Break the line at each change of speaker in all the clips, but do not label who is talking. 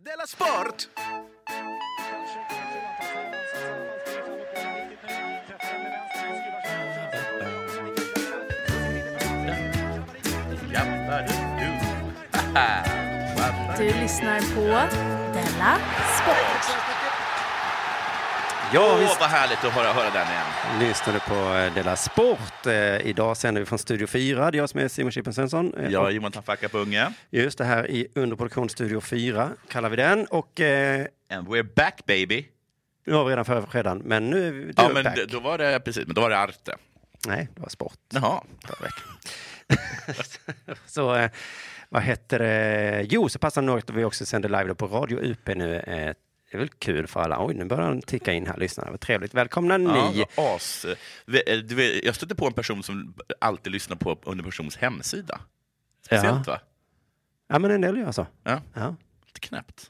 Della Sport! Jävlar du!
Du lyssnar på Della Sport.
Ja,
Åh,
visst
vad härligt att höra, höra den igen.
lyssnar du på eh, Della Sport. Eh, Idag sänder vi från Studio 4. Det är jag som är Simon Chippen Svensson. Eh,
Jag är
och
Johan Tafaka på Unge.
Just det här i underproduktion Studio 4 kallar vi den. Och eh,
And we're back baby.
nu har vi redan förra fredagen, men nu är vi
Ja,
du är
men
back.
d- då var det precis, men då var det Arte.
Nej, det var sport.
Jaha.
Så eh, vad heter det? Jo, så passar det nog att vi också sänder live då på Radio UP nu. Eh, Det är väl kul för alla. Oj, nu börjar den ticka in här, lyssnarna. Vad trevligt. Välkomna
Ja,
ni.
vad as. Vi- eh, du vet, Jag stötte på en person som alltid lyssnar på under persons hemsida. Speciellt va?
ja, men en del gör så.
Ja,
Ja,
lite knäppt.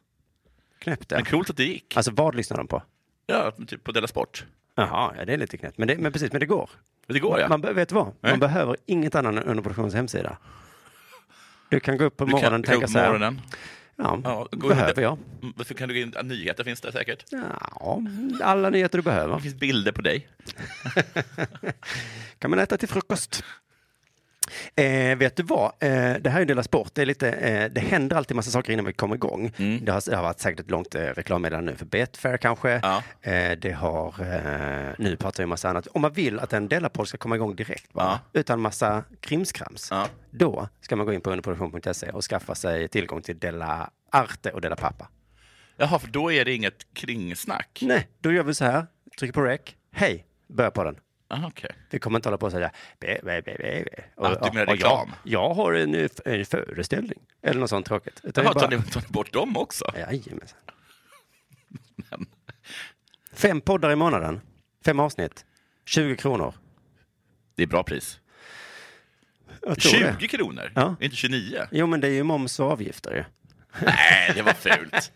knäppt
Men
det.
coolt att det gick.
Alltså, vad lyssnar de på?
Ja, typ på Della Sport.
Jaha, ja, det är lite knäppt. Men, det, men precis, men det går.
Det går ja.
Man, be- vet du vad?
Nej.
Man behöver inget annat än underproduktionens hemsida. Du kan gå upp på
Du kan,
morgonen
du
och
kan gå på
tänka så här.
morgonen.
Ja,
Ja, gå
behöver jag?
Mm, varför Kan du gå in, ja, nyheter finns där säkert.
Ja, alla nyheter du
Det
behöver.
finns bilder på dig.
kan man äta till frukost. Eh, vet du vad? Eh, det här är Dela Sport. Det, är lite, eh, det händer alltid massa saker innan vi kommer igång.
Mm.
Det, har, det har varit säkert ett långt eh, reklammeddelande nu för Betfair kanske.
Ja.
Eh, det har, eh, nu pratar vi om massa annat. Om man vill att en Dela-podd ska komma igång direkt, bara, utan massa krimskrams,
Ja.
då ska man gå in på underproduktion.se och skaffa sig tillgång till Dela Arte och Dela Pappa.
Jaha, för då är det inget kringsnack?
Nej, då gör vi så här. Trycker på rec. Hej, börja på den.
Aha, okej.
Vi kommer inte hålla på och säga be, be, be, be. be. Och,
Ah, du menar
och
reklam?
Jag, jag har en, eh, f- en föreställning eller något sånt tråkigt. Utan
Jaha,
jag
tar
bara,
ni, tar ni bort dem också?
Jajamensan. Fem poddar i månaden, fem avsnitt, 20 kronor.
Det är bra pris.
Jag tror det.
20 kronor?
Ja.
Inte 29?
Jo, men det är ju moms och avgifter ju.
Nej, det var fult.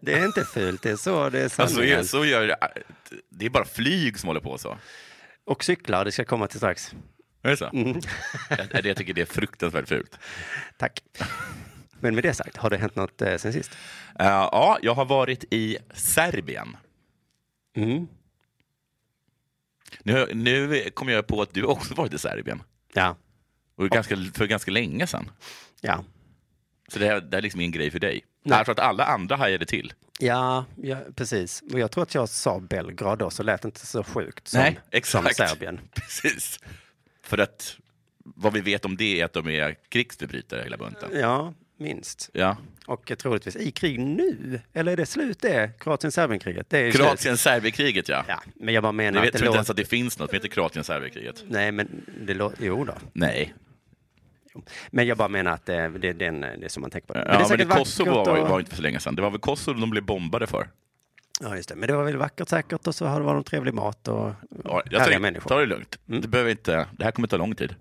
Det är inte fult, det är så det är
Alltså,
sanningen.
så gör det. det är bara flyg som håller på så.
Och cyklar, det ska jag komma till strax.
Är det så?
Mm.
Jag, jag tycker det är fruktansvärt fult.
Tack. Men med det sagt, har det hänt något eh, sen sist?
Eh, ja, jag har varit i Serbien.
Mm.
Nu, nu kom jag på att du också varit i Serbien.
Ja.
Och ganska, för ganska länge sedan.
Ja.
Så det här, det här är liksom ingen grej för dig.
Nej.
Jag tror att alla andra hajade till.
Ja, ja, precis. Och jag tror att jag sa Belgrad då, så lät det inte så sjukt som,
Nej,
som
exakt.
Serbien.
Precis. För att vad vi vet om det är att de är krigsförbrytare hela bunten.
Ja, minst.
Ja.
Och eh, troligtvis i krig nu. Eller är det slut det? Kroatien-Serbien-kriget? Det är ju slut.
Kroatien-Serbien-kriget, ja.
Ja, men jag bara
Ni
menar
vet
att det
tror inte ens
låter...
att det finns något som heter Kroatien-Serbien-kriget.
Nej, men det låter... Jo då.
Nej.
Men jag bara menar att det, det, det, är en- det är som man tänker på det.
Men ja, men det
vackert
Kosovo var,
och-
var inte för så länge sedan. Det var väl Kosovo de blev bombade för.
Ja, just det. Men det var väl vackert säkert och så har det varit en trevlig mat och
Ja, jag
härliga
tänker-
människor. Mm.
Ta det lugnt. Det, behöver inte, det här kommer ta lång tid.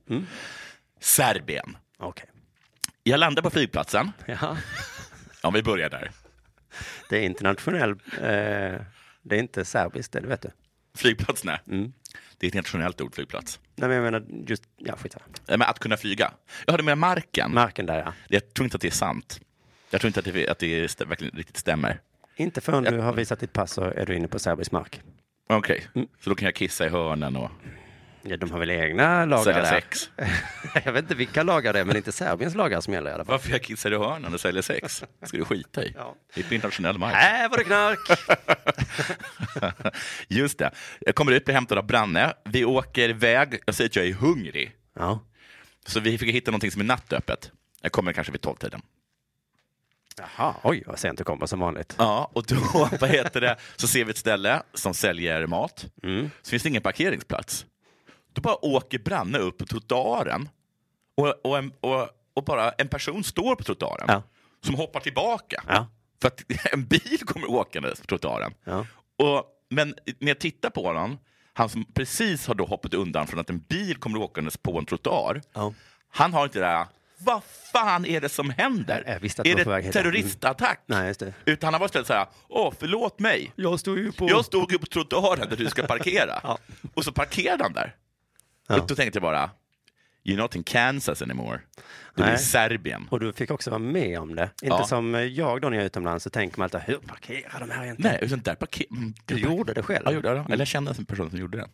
Serbien.
Okej.
Jag landar på flygplatsen.
Ja,
Om vi börjar där.
det är internationell... Eh, det är inte serbiskt, det vet du.
Flygplatsen, nej. Det är ett internationellt ord, flygplats.
Nej, men jag menar just... Ja, skitsamma.
Nej, Men att kunna flyga. Jag hade med marken.
Marken där, ja.
Jag tror inte att det är sant. Jag tror inte att det, att det stä- verkligen riktigt stämmer.
Inte förrän du har visat ditt pass så är du inne på serbisk mark.
Okej, så då kan jag kissa i hörnen och
Ja, de har väl egna lagar
sälja
där.
sex.
Jag vet inte vilka lagar det är, men inte Serbiens lagar som gäller i alla fall.
Varför jag kissar i hörnen och säljer sex? ska du skita i.
Ja.
Det är på internationell mark.
Här Äh, var det knark!
Just det. Jag kommer ut, blir hämtad av Branne. Vi åker iväg. Jag säger att jag är hungrig.
Ja,
Så vi fick hitta någonting som är nattöppet. Jag kommer kanske vid tolvtiden.
jaha, oj vad sent du kommer som vanligt.
Ja, och då, vad heter det, så ser vi ett ställe som säljer mat.
Mm.
Så finns det ingen parkeringsplats. Då bara åker Branne upp på trottoaren och, och, en, och, och bara en person står på trottoaren
Ja.
som hoppar tillbaka.
Ja.
För att en bil kommer åkandes på trottoaren.
Ja.
Och, men när jag tittar på honom, han som precis har då hoppat undan från att en bil kommer åkandes på en trottoar.
Ja.
Han har inte det här, vad fan är det som händer?
Jag visste att du
är
var på väg
det
hit. Mm.
terroristattack?
Nej, just det.
Utan han var istället så här, åh förlåt mig,
Jag stod ju på...
jag stod ju på trottoaren där du ska parkera.
Mm. Ja.
Och så parkerade han där.
Ja.
Och då tänkte jag bara, You're not in Kansas anymore. Du är i
Nej.
Serbien.
Och du fick också vara med om det. Inte
Ja.
som jag då när jag är utomlands så tänker man alltid, hur parkerar de här egentligen?
Nej, utan där parkerade...
Du gjorde det själv? Mm.
Ja, jag gjorde det. Eller jag kände en person som gjorde det.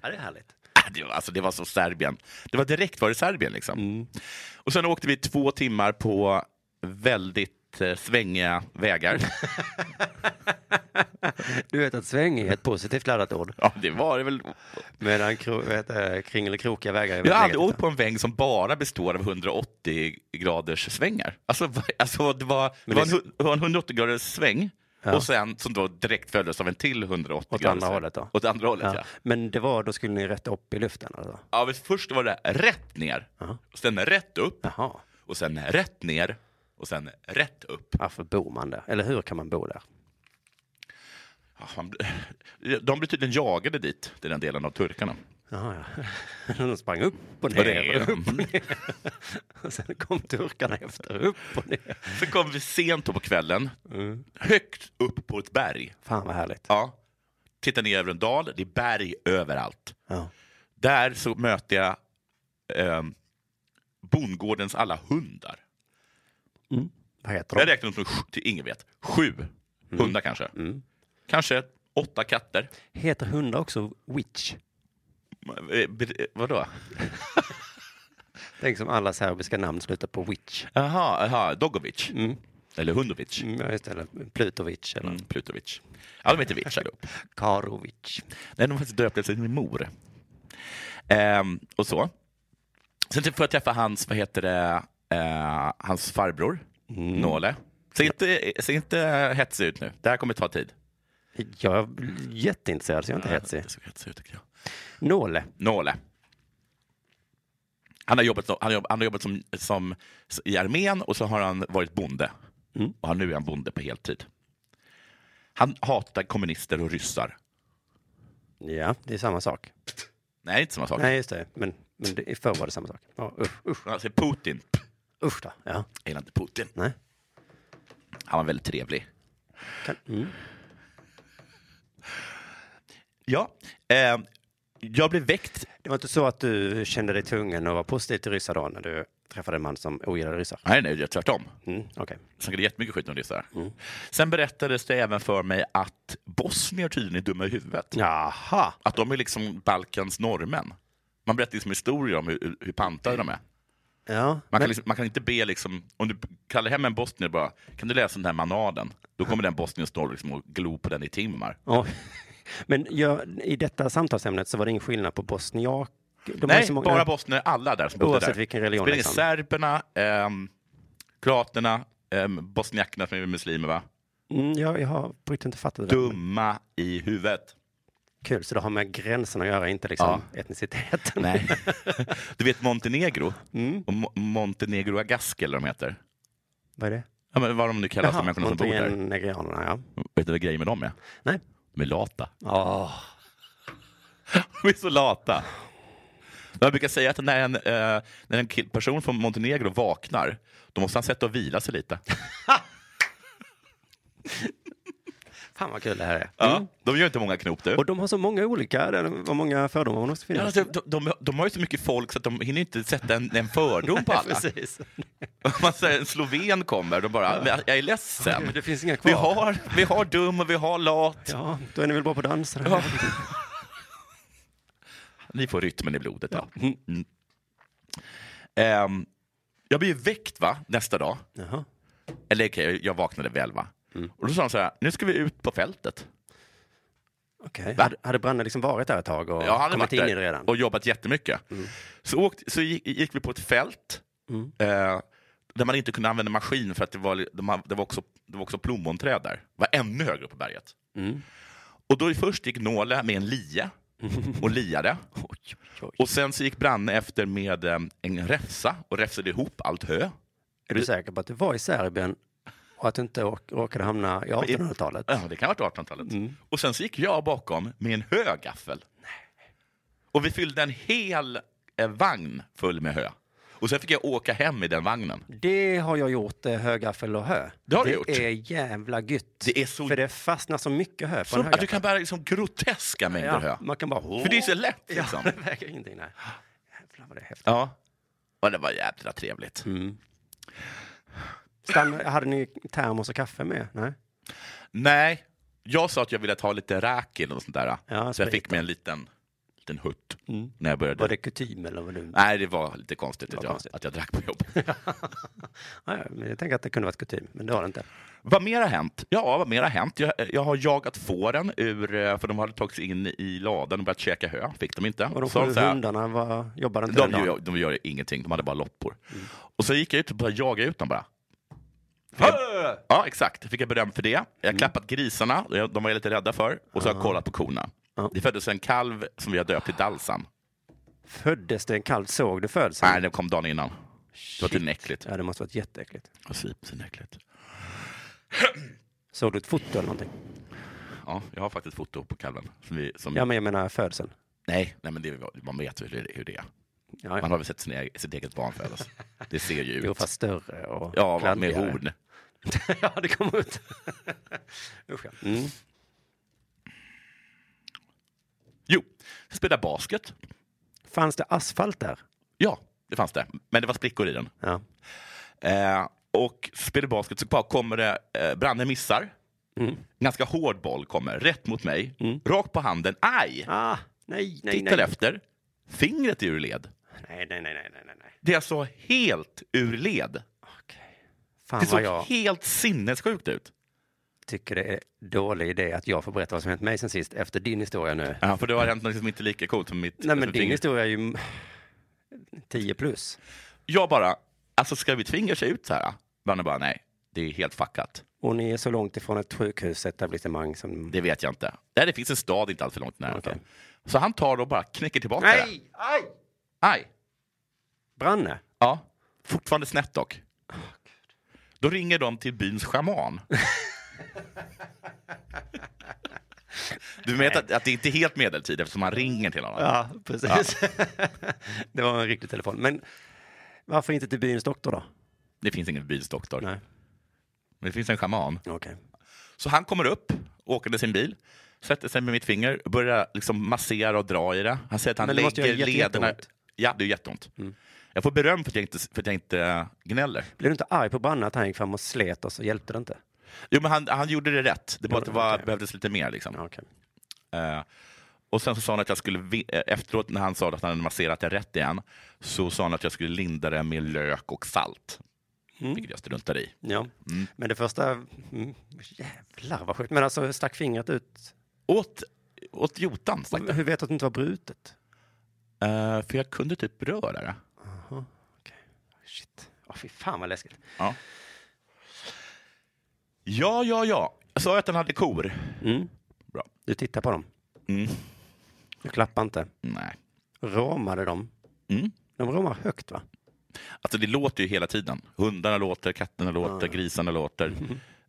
Ja, det är härligt.
Ah, Det var, alltså, det var så Serbien. Det var direkt var det Serbien liksom.
Mm.
Och sen åkte vi två timmar på väldigt eh, svängiga vägar.
Du vet att sväng är ett positivt laddat ord,
ja, det var det väl.
medan kro, vet, eh, kringelkrokiga
Jag
vägar är
har
väldigt
aldrig
negativt.
åkt på en väg som bara består av 180 graders svängar. Alltså, va- alltså det, var, det,
Men
var
det-
en, hu- det var en 180 graders sväng och sen som då direkt följdes av en till 180
Åt
graders
andra
sväng.
hållet då?
Åt andra hållet, ja.
Ja. Men det var, då skulle ni rätt upp i luften alltså?
ja. men först var det rätt ner, och sen rätt upp
Jaha,
och sen rätt ner och sen rätt upp.
varför bor man där? Eller hur kan man bo där?
Ja, fan, De blev tydligen jagade dit, till den delen av turkarna.
Jaha, ja. De sprang upp och
Och
ner,
det-
och upp och ner. Och sen kom turkarna efter, upp och ner.
Så kom vi sent då på kvällen,
Mm.
högt upp på ett berg.
Fan vad härligt.
Ja. Tittar ner över en dal, det är berg överallt.
Ja.
Där så möter jag eh, bondgårdens alla hundar.
Vad heter
Jag
de?
räknar dem som, till ingen vet, sju hundar kanske. Kanske åtta katter.
Heter hundar också witch?
Eh, be- eh, Vadå?
Tänk som alla serbiska namn slutar på witch.
Jaha, aha, Dogovic. Eller Hundovic.
Mm, Ja, just det, eller Plutovic eller
Mm. Plutovic. Ja, de heter Vic allihop.
Karovic.
Nej, de faktiskt döpte efter min mor. Ehm, och så. Sen typ får jag träffa hans, vad heter det, eh, hans farbror, Nåle. Se inte, se inte hetsig ut nu. Det här kommer ta tid.
Jag är jätteintresserad så jag är inte hetsig.
Det såg hetsig ut tycker jag.
Nåle.
Nåle. Han har jobbat, som- han har jobbat, han har jobbat som, som, i armén och så har han varit bonde. Och han, nu är han bonde på heltid. Han hatar kommunister och ryssar.
Ja, det är samma sak.
Nej, inte samma sak.
Nej, just det. Men, men det, förr var det samma sak. Ja, usch, usch,
Han säger Putin.
usch då. Ja.
Jag gillar inte Putin.
Nej.
Han var väldigt trevlig.
Kan, mm.
Ja. Eh, jag blev väckt.
Det var inte så att du kände dig tvungen att vara positiv till ryssar då när du träffade en man som ogillade ryssar?
Nej, nej, det är tvärtom.
Mm, Okej.
Snackade jättemycket skit om ryssar.
Mm.
Sen berättades det även för mig att bosnier tydligen är dumma i huvudet.
Jaha.
Att de är liksom Balkans norrmän. Man berättar liksom historier om hur, hur pantade de är.
Ja.
Man kan,
Men,
liksom, man kan inte be, liksom, om du kallar hem en bosnier bara, kan du läsa den här manaden? Då kommer den bosnien stå liksom och glo på den i timmar.
ja. men jag, i detta samtalsämnet så var det ingen skillnad på bosniak... De har ju
Nej,
så många-
bara bosnier, alla där som bodde
Oavsett
där.
vilken religion
Spelar ingen
liksom.
serberna, ehm, kroaterna, ehm, bosniakerna som är muslimer va?
Mm, jag, jag har på riktigt inte fattat det.
Dumma i huvudet.
Kul, så det har med gränserna att göra, inte liksom etniciteten. Mm,
Nej. Du vet Montenegro? Och Mo- Montenegro Agask eller vad de heter.
Vad är det?
Ja, men vad de nu kallas, de människorna som bor där.
montenegrianerna, ja.
Vet du vad grejen med dem är?
Nej.
De är lata.
Oh.
De är så lata. Jag brukar säga att när en, eh, när en kill- person från Montenegro vaknar, då måste han sätta och vila sig lite.
Fan vad kul det här är. Mm.
Ja, Mm. de gör inte många knop du.
Och de har så många olika, det var många fördomar man måste
Ja,
finnas.
alltså, de, de, de har ju så mycket folk så att de hinner inte sätta en, en fördom på alla.
Precis.
Om man säger en sloven kommer, de bara “jag är ledsen,
Det finns inga kvar.
vi har, vi har dum och vi har lat”.
Ja, då är ni väl bra på dans? eller?
Ja. Ni får rytmen i blodet. Ja. Mm. Ehm, jag blev ju väckt va, nästa dag.
Jaha.
Eller okej, jag vaknade väl va.
Mm.
Och då sa de så här, nu ska vi ut på fältet.
Okej. Hade, hade Branne liksom varit där ett tag och
Ja, han hade varit
kommit in i
där
det redan? Mm.
och jobbat jättemycket. Så, åkt, så gick, gick vi på ett fält eh, där man inte kunde använda maskin för att det var, de, ha- det var, också, det var också plommonträd där. Det var ännu högre upp på berget.
Mm.
Och då först gick Nåle med en lie och liade. Och sen så gick Branne efter med eh, en räfsa och räfsade ihop allt hö.
Är du säker på att du var i Serbien och att du inte åk, råkade hamna i 1800-talet?
Ja, det kan ha varit 1800-talet.
Mm.
Och sen så gick jag bakom med en högaffel. Och vi fyllde en hel eh, vagn full med hö. Och sen fick jag åka hem i den vagnen.
Det har jag gjort, eh, högaffel och hö.
Det har du gjort.
är jävla gött.
Det är så-
För det fastnar så mycket hö på
Så
en
att du
högaffel.
kan bära liksom groteska mängder hö.
ja, man kan bara...
För det är så lätt liksom.
Ja, det väger ingenting. Nej. Jävlar vad det är häftigt.
Ja. Och det var jävla trevligt.
Mm. Stann, hade ni termos och kaffe med? Nej?
Nej, jag sa att jag ville ta lite räkil och sånt där.
Ja,
så jag
sprit
fick mig en liten, liten hutt när jag började.
Var det kutym eller vad du...
Nej, det var lite konstigt, att,
var
jag,
konstigt.
att jag drack på jobbet.
Nej, men jag tänker att det kunde varit kutym, men det har det inte.
Vad mer har hänt? Ja, vad mer har hänt? Jag, jag har jagat fåren ur, eh, för de hade tagit sig in i ladan och börjat käka hö. Fick de inte.
Och de
Så
sju
så här,
hundarna var, jobbade inte
de,
den dagen.
gör, de gör ingenting, de hade bara loppor.
Mm.
Och så gick jag ut och började jaga ut dem bara. Fick jag, ja, exakt. Fick jag beröm för det. Jag har
Mm.
klappat grisarna, jag- de var jag lite rädda för. Och så har jag kollat på korna.
Ah. Ja.
Det föddes en kalv som vi har döpt till Dalsam.
Föddes det en kalv? Såg du födseln?
Nej, den kom dagen innan. Det var typ- tydligen äckligt.
Ja, det måste varit jätteäckligt.
Ja, supersen äckligt.
Såg du ett foto eller någonting?
Mm. Ja, jag har faktiskt foto på kalven. Som vi, som...
Ja, men jag menar födseln.
Nej, nej, men det, är- man vet hur det, hur det är.
Ja,
Man
ja.
har väl sett sin egen, sitt eget barn födas. Det ser ju ut.
Jo, fast större och
ja, med
kladdigare.
horn.
ja, det kom ut. Usch, ja. mm.
Jo, jag spelade basket.
Fanns det asfalt där?
Ja, det fanns det. Men det var sprickor i den.
Ja.
Eh, och spelar basket så bara kommer det, eh, Branne missar.
Mm.
Ganska hård boll kommer, rätt mot mig. Rakt på handen, aj!
Ah, nej, Mm. nej,
Tittar
nej.
efter, fingret är ur led.
Nej, nej, nej, nej, nej, nej, nej.
Det är alltså helt ur led.
Okej. Fan
Det
vad
såg
jag
helt sinnessjukt ut.
tycker det är dålig idé att jag får berätta vad som hänt mig sen sist efter din historia nu.
Ja, för det har hänt något som inte är lika coolt som mitt.
Nej, men
som
din
finger.
historia är ju 10 plus.
Jag bara, alltså ska vi tvinga sig ut så här? Branne bara, nej, det är helt fuckat.
Och ni är så långt ifrån ett sjukhusetablissemang som...
Det vet jag inte. Nej, det finns en stad inte alltför långt nära.
Okej.
Så han tar och bara knäcker tillbaka det.
Aj!
Aj!
Branne?
Ja, fortfarande snett dock. Då ringer de till byns schaman. Du vet att, att det inte är helt medeltid eftersom man ringer till honom.
Ja, precis. det var en riktig telefon. Men varför inte till byns doktor då?
Det finns ingen byns doktor,
Nej,
men det finns en schaman.
okej.
Så han kommer upp, åker med sin bil, sätter sig med mitt finger, börjar liksom massera och dra i det. Han säger att han
Men det måste
lägger
göra Mm. jätte-
lederna...
jätteont.
Ja, det är jätteont. Jag får beröm för att jag inte, för att jag inte eh, gnäller.
Blev du inte arg på Branne att han gick fram och slet oss och hjälpte det inte?
Jo, men han, han gjorde det rätt. Det, bara, att det var,
Okej.
behövdes lite mer. Liksom.
Ja, Okej.
Eh, och sen så sa han att jag skulle, vi- eh, efteråt när han sa att han hade masserat det rätt igen, så sa han att jag skulle linda det med lök och salt.
Mm.
Vilket jag struntade i.
Ja, men det första... Mm, jävlar vad sjukt. Men alltså, hur stack fingret ut?
Åt, åt jotan, stack det.
Hur vet du att det inte var brutet? Mm.
Eh, För jag kunde typ röra det.
Shit. Åh, fy fan vad läskigt.
Ja, ja, ja. ja. Jag sa ju att han hade kor.
Mm.
Bra.
Du tittar på dem.
Mm.
Du klappar inte.
Nej.
Ramade de?
Mm.
De ramar högt, va?
Alltså det låter ju hela tiden. Hundarna låter, katterna låter, grisarna låter,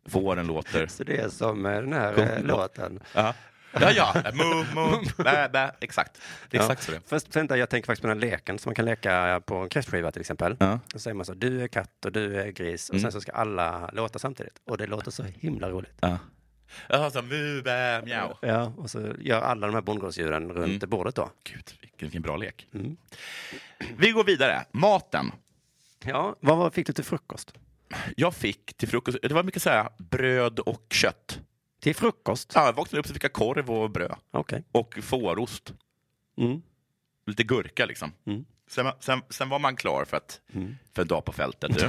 fåren låter.
Så det är som eh, den här
Kom.
eh, låten.
Ja, ja, ja. Mu, mu, bä, bä. Exakt. Det är
Ja.
exakt så det är.
Fast vänta, jag tänker faktiskt på den här leken som man kan leka eh, på en kräftskiva till exempel.
Ja. Mm.
Då säger man så, du är katt och du är gris och sen så ska alla låta samtidigt. Och det låter så himla roligt.
Ja. Alltså, mu, bä, mjau.
Ja, och så gör alla de här bondgårdsdjuren runt
Mm.
bordet då. Mm.
Gud, vilken, vilken bra lek. Vi går vidare. Maten.
Ja, vad var, fick du till frukost?
Jag fick till frukost, det var mycket så här bröd och kött.
Till frukost?
Ja, jag vaknade upp så fick jag korv och bröd.
Okej.
Och fårost.
Mm.
Lite gurka liksom. Sen, sen, sen var man klar för, att,
Mm.
för en dag på fältet. Du.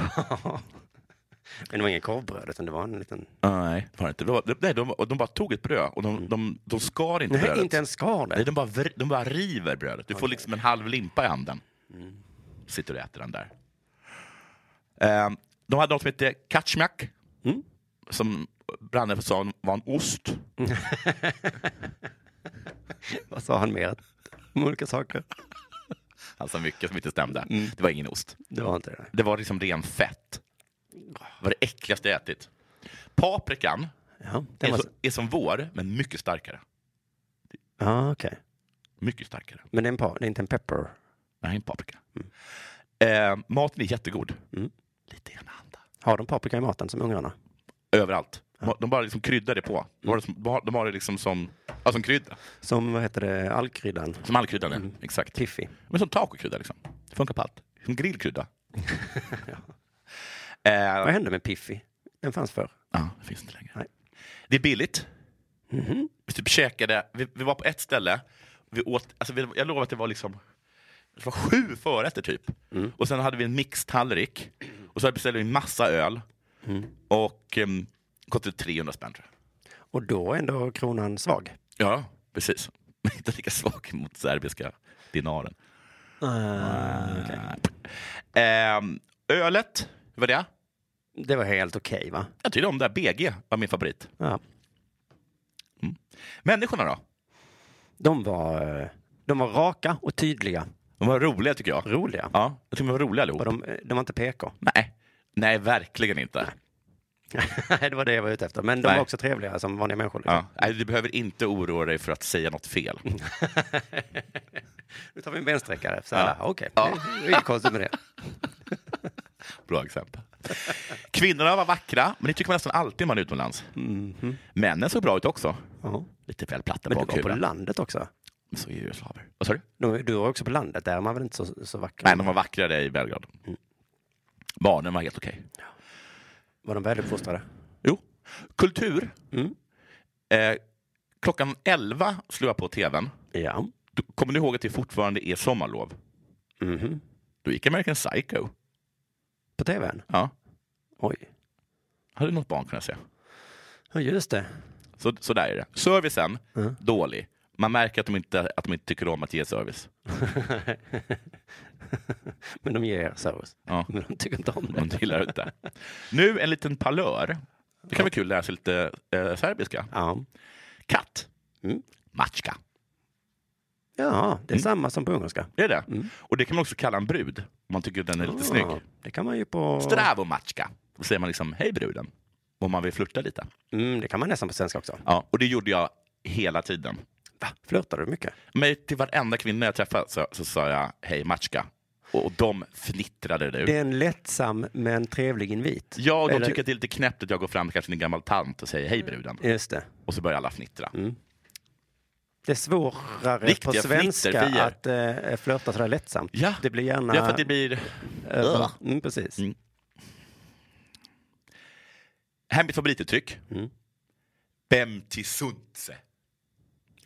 Men det var ingen korvbröd, utan det var en liten...
Nej, det var det inte. De, de, nej, de, de bara tog ett bröd och de, de, de skar inte
Mm. Nej,
brödet.
inte ens skar
Nej,
det.
de bara, vr- de bara river brödet. Du får liksom en halv limpa i handen.
Mm.
Sitter och äter den där. Ehm, de hade något som hette kaczmiak.
Mm.
Som Branne sa var en ost.
Vad sa han mer? Om olika saker?
Alltså mycket som inte stämde.
Mm.
Det var ingen ost.
Det var inte det.
Det var liksom ren fett. Det var det äckligaste jag ätit. Paprikan
Ja, det
är,
var...
så, är som vår, men mycket starkare.
Ja, okej.
Mycket starkare.
Men det är, en par, det är inte en pepper?
Mm. Nej, en paprika. Eh, maten är jättegod.
Mm.
Lite grann anda.
Har de paprika i maten som ungrarna?
Överallt. Ma- De bara liksom kryddar det på. De har det, som, de har det liksom som, ja, som krydda.
Som, vad heter det, allkryddan?
Som all krydda, mm. exakt.
Piffi.
Men som tacokrydda liksom. Det funkar på allt. Som grillkrydda. eh,
Vad hände med Piffi? Den fanns förr.
ja, det finns inte längre.
Nej.
Det är billigt. Vi typ käkade, vi, vi var på ett ställe, vi åt, alltså vi, jag lovar att det var liksom det var sju förrätter typ. Och sen hade vi en mixtallrik. Och så beställde vi massa öl. Och um, kostade 300 spänn tror jag.
Och då är ändå kronan svag.
Ja, precis. Men inte lika svag mot serbiska dinaren. Ehm, ölet, vad var det?
Det var helt okej va?
Jag tyckte om det. här. BG var min favorit.
Ja.
Människorna då?
De var, eh, de var raka och tydliga.
De var roliga tycker jag.
Roliga.
Ja, jag tycker de var roliga allihop.
Och de, eh, de var inte PK.
Nej. Nej, verkligen inte.
Nej, det var det jag var ute efter. Men de
Nej.
var också trevliga som vanliga människor. Liksom.
Ja. Nej, du behöver inte oroa dig för att säga något fel.
Nu tar vi en bensträckare. Så alla, Okej, det är inget konstigt med det.
Bra exempel. Kvinnorna var vackra, men det tycker man nästan alltid när man är utomlands. Mm-hmm. Männen såg bra ut också.
Ja.
Lite väl platta
Men du var på
bakhuvudet.
landet också.
Men Så är ju slaver. Vad sa du?
Du, du var också på landet, där är man väl inte så, så vacker?
Nej, de var vackrare i Belgrad.
Mm.
Barnen var helt okej.
Var de väluppfostrade?
Jo. Kultur.
Mm.
Eh, klockan 11 slog jag på tvn.
Ja.
Du, kommer du ihåg att det fortfarande är sommarlov? Mm-hmm.
Mhm.
Då gick American Psycho.
På tvn?
Ja,
Oj.
hade något barn kunnat se.
Ja, just det.
Så, så där är det. Servicen,
Mm.
dålig. Man märker att de, inte, att de inte tycker om att ge service.
Men de ger service.
Ja.
Men de tycker inte om
De
det.
gillar inte. Nu en liten palör. Det kan vara kul att lära sig lite eh, serbiska.
Ja.
Katt.
Mm.
Mačka.
ja, det är samma som på ungerska.
Det är det.
Mm.
Och det kan man också kalla en brud. Om man tycker att den är lite snygg.
Ja, det kan man ju på...
Stravo mačka. Då säger man liksom hej bruden. Om man vill flirta lite.
Mm, det kan man nästan på svenska också.
Ja, och det gjorde jag hela tiden.
Va? Flörtar du mycket?
Men till varenda kvinna jag träffade så, så sa jag hej mačka. Och, och de fnittrade det ut.
Det är en lättsam men trevlig invit.
Ja, de
Eller-
tycker att det Mm. är lite knäppt att jag går fram kanske till en gammal tant och säger hej bruden.
Just det.
Och så börjar alla fnittra.
Det är svårare
Riktiga
på svenska
fnitterfier.
att eh, flörta sådär lättsamt.
Ja.
Det blir gärna...
Ja, för att det blir...
över- mm, precis.
Mm. Här är mitt favorituttryck.
Mm.
Bem till sunse.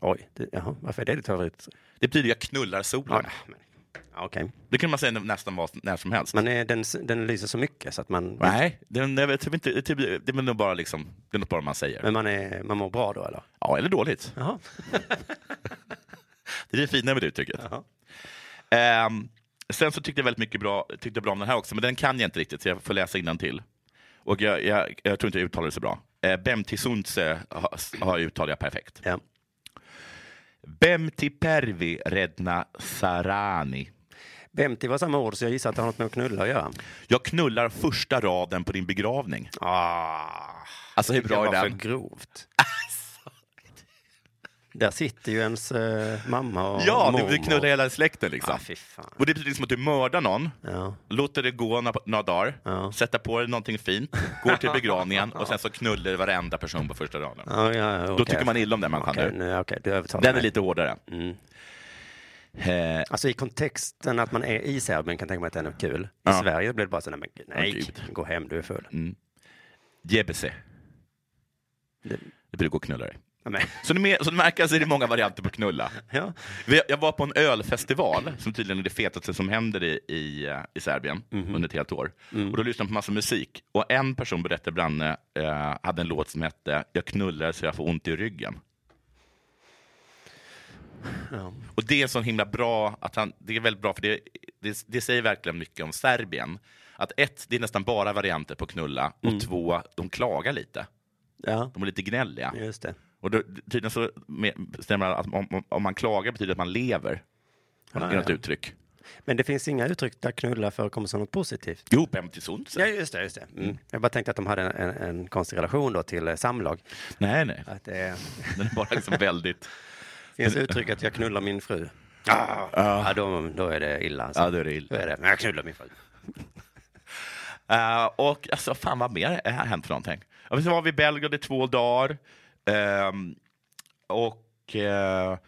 Oj, det, jaha, varför är det ditt favorit?
Det betyder jag knullar solen.
Ja, men- ja, Okej,
Det kan man säga nästan vad, när som helst.
men eh, den, den lyser så mycket så att man...
Nej, det, jag vet, typ inte, det, typ, det är väl nog bara liksom, det är något bara man säger.
Men man, är, man mår bra då eller?
Ja, eller dåligt.
Jaha.
Det är det fina med det uttrycket.
Jaha.
Ehm, sen så tyckte jag väldigt mycket bra, tyckte jag bra om den här också, men den kan jag inte riktigt så jag får läsa innantill. Och jag, jag, jag tror inte jag uttalar det så bra. Eh, Bem till sunse har, har jag uttalat perfekt.
Ja.
Bem till pervi redna sarani.
Bemti var samma ord så jag gissar att det har något med att knulla att göra.
Jag knullar första raden på din begravning.
Ah,
Alltså hur bra är
det var
den?
för grovt. Där sitter ju ens eh, mamma och
Ja,
mormor.
du, du knullar hela släkten liksom.
ah, fy fan.
Och det betyder liksom att du mördar någon,
Ja.
låter det gå några, några dagar,
Ja.
sätter på dig någonting fint, går till begravningen och sen så knullar du varenda person på första raden.
Ja, ja,
Då tycker man illa om den människan.
Okej,
nu.
nu- okej, du övertalar
Den är
mig.
lite hårdare. Eh,
Alltså i kontexten att man är i Serbien kan jag tänka mig att den är kul. I
Ja.
Sverige blir det bara så, nej, men, gud, nej
Åh, gud.
gå hem, du är full.
Jebese.
Det-
Det brukar gå och knulla dig.
Ja, men,
Så ni mer- som ni märker så är det många varianter på knulla.
ja.
Vi- Jag var på en ölfestival, som tydligen är det fetaste som händer i, i, eh, i Serbien
Mhm.
under ett helt år.
Mm.
Och då lyssnade jag på massa musik. Och en person berättade bland eh, hade en låt som hette Jag knullar så jag får ont i ryggen.
Ja.
Och det är så himla bra, att han, det är väldigt bra för det, det, det säger verkligen mycket om Serbien. Att ett, det är nästan bara varianter på knulla och
Mm.
två, de klagar lite.
ja,
De är lite gnälliga.
just det.
Och då, tydligen så med- stämmer det att om, om- om man klagar betyder det att man lever. Har
Ja,
ah, något
ja.
uttryck.
Men det finns inga uttryck där knulla förekommer som något positivt.
Jo, vem till sunt?
Ja, just det. Just det. Mm. Jag bara tänkte att de hade en, en, en konstig relation då till eh, samlag.
Nej, nej.
Att det
Den är bara liksom väldigt...
finns uttrycket jag knullar min fru. Ah, ja, då, då är det illa. Alltså.
Ja, då är det illa.
Då är det. Men jag knullar min fru.
Eh, och alltså, fan vad mer har hänt för någonting? Ja, men så var vi i Belgrad i två dagar. Ehm, och eh,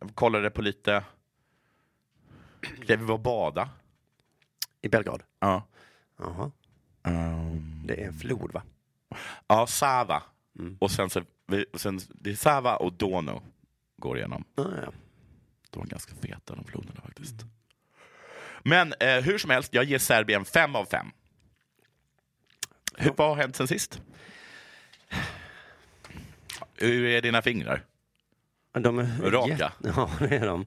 jag kollade på lite... Vi var och bada.
I Belgrad?
Ja.
Jaha.
Ehm,
Det är en flod, va?
ja, Sava. Och sen, så, vi- och sen, det är Sava och Dono går igenom.
Ja, ja.
De var ganska feta de floderna faktiskt. Men eh, hur som helst, jag ger Serbien fem av fem. Hur, vad har hänt sen sist? Hur är dina fingrar?
Ja, De är
Raka.
jätte- Ja, det är de.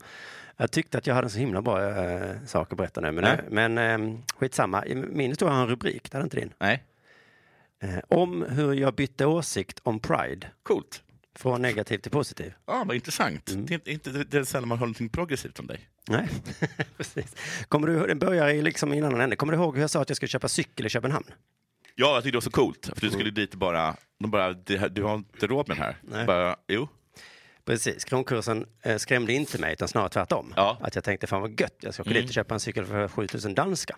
Jag tyckte att jag hade en så himla bra eh, sak att berätta nu, men,
Nej.
men eh, skitsamma. Min historia har en rubrik, det hade inte din.
Nej.
Eh, om hur jag bytte åsikt om Pride,
Coolt.
från negativ till positiv.
Ja, vad intressant. Det är inte- inte det är sällan man hör någonting progressivt om dig.
Nej, precis. Kommer du, den börjar i liksom i en annan ände. Kommer du ihåg hur jag sa att jag skulle köpa cykel i Köpenhamn?
Ja, jag tyckte det var så coolt. För du skulle dit och bara, de bara det här, du har inte råd med den här.
Nej.
Bara, jo.
Precis, kronkursen eh, skrämde inte mig utan snarare tvärtom.
Ja. Mm.
Att jag tänkte fan vad gött, jag ska åka dit och köpa en cykel för 7000 danska.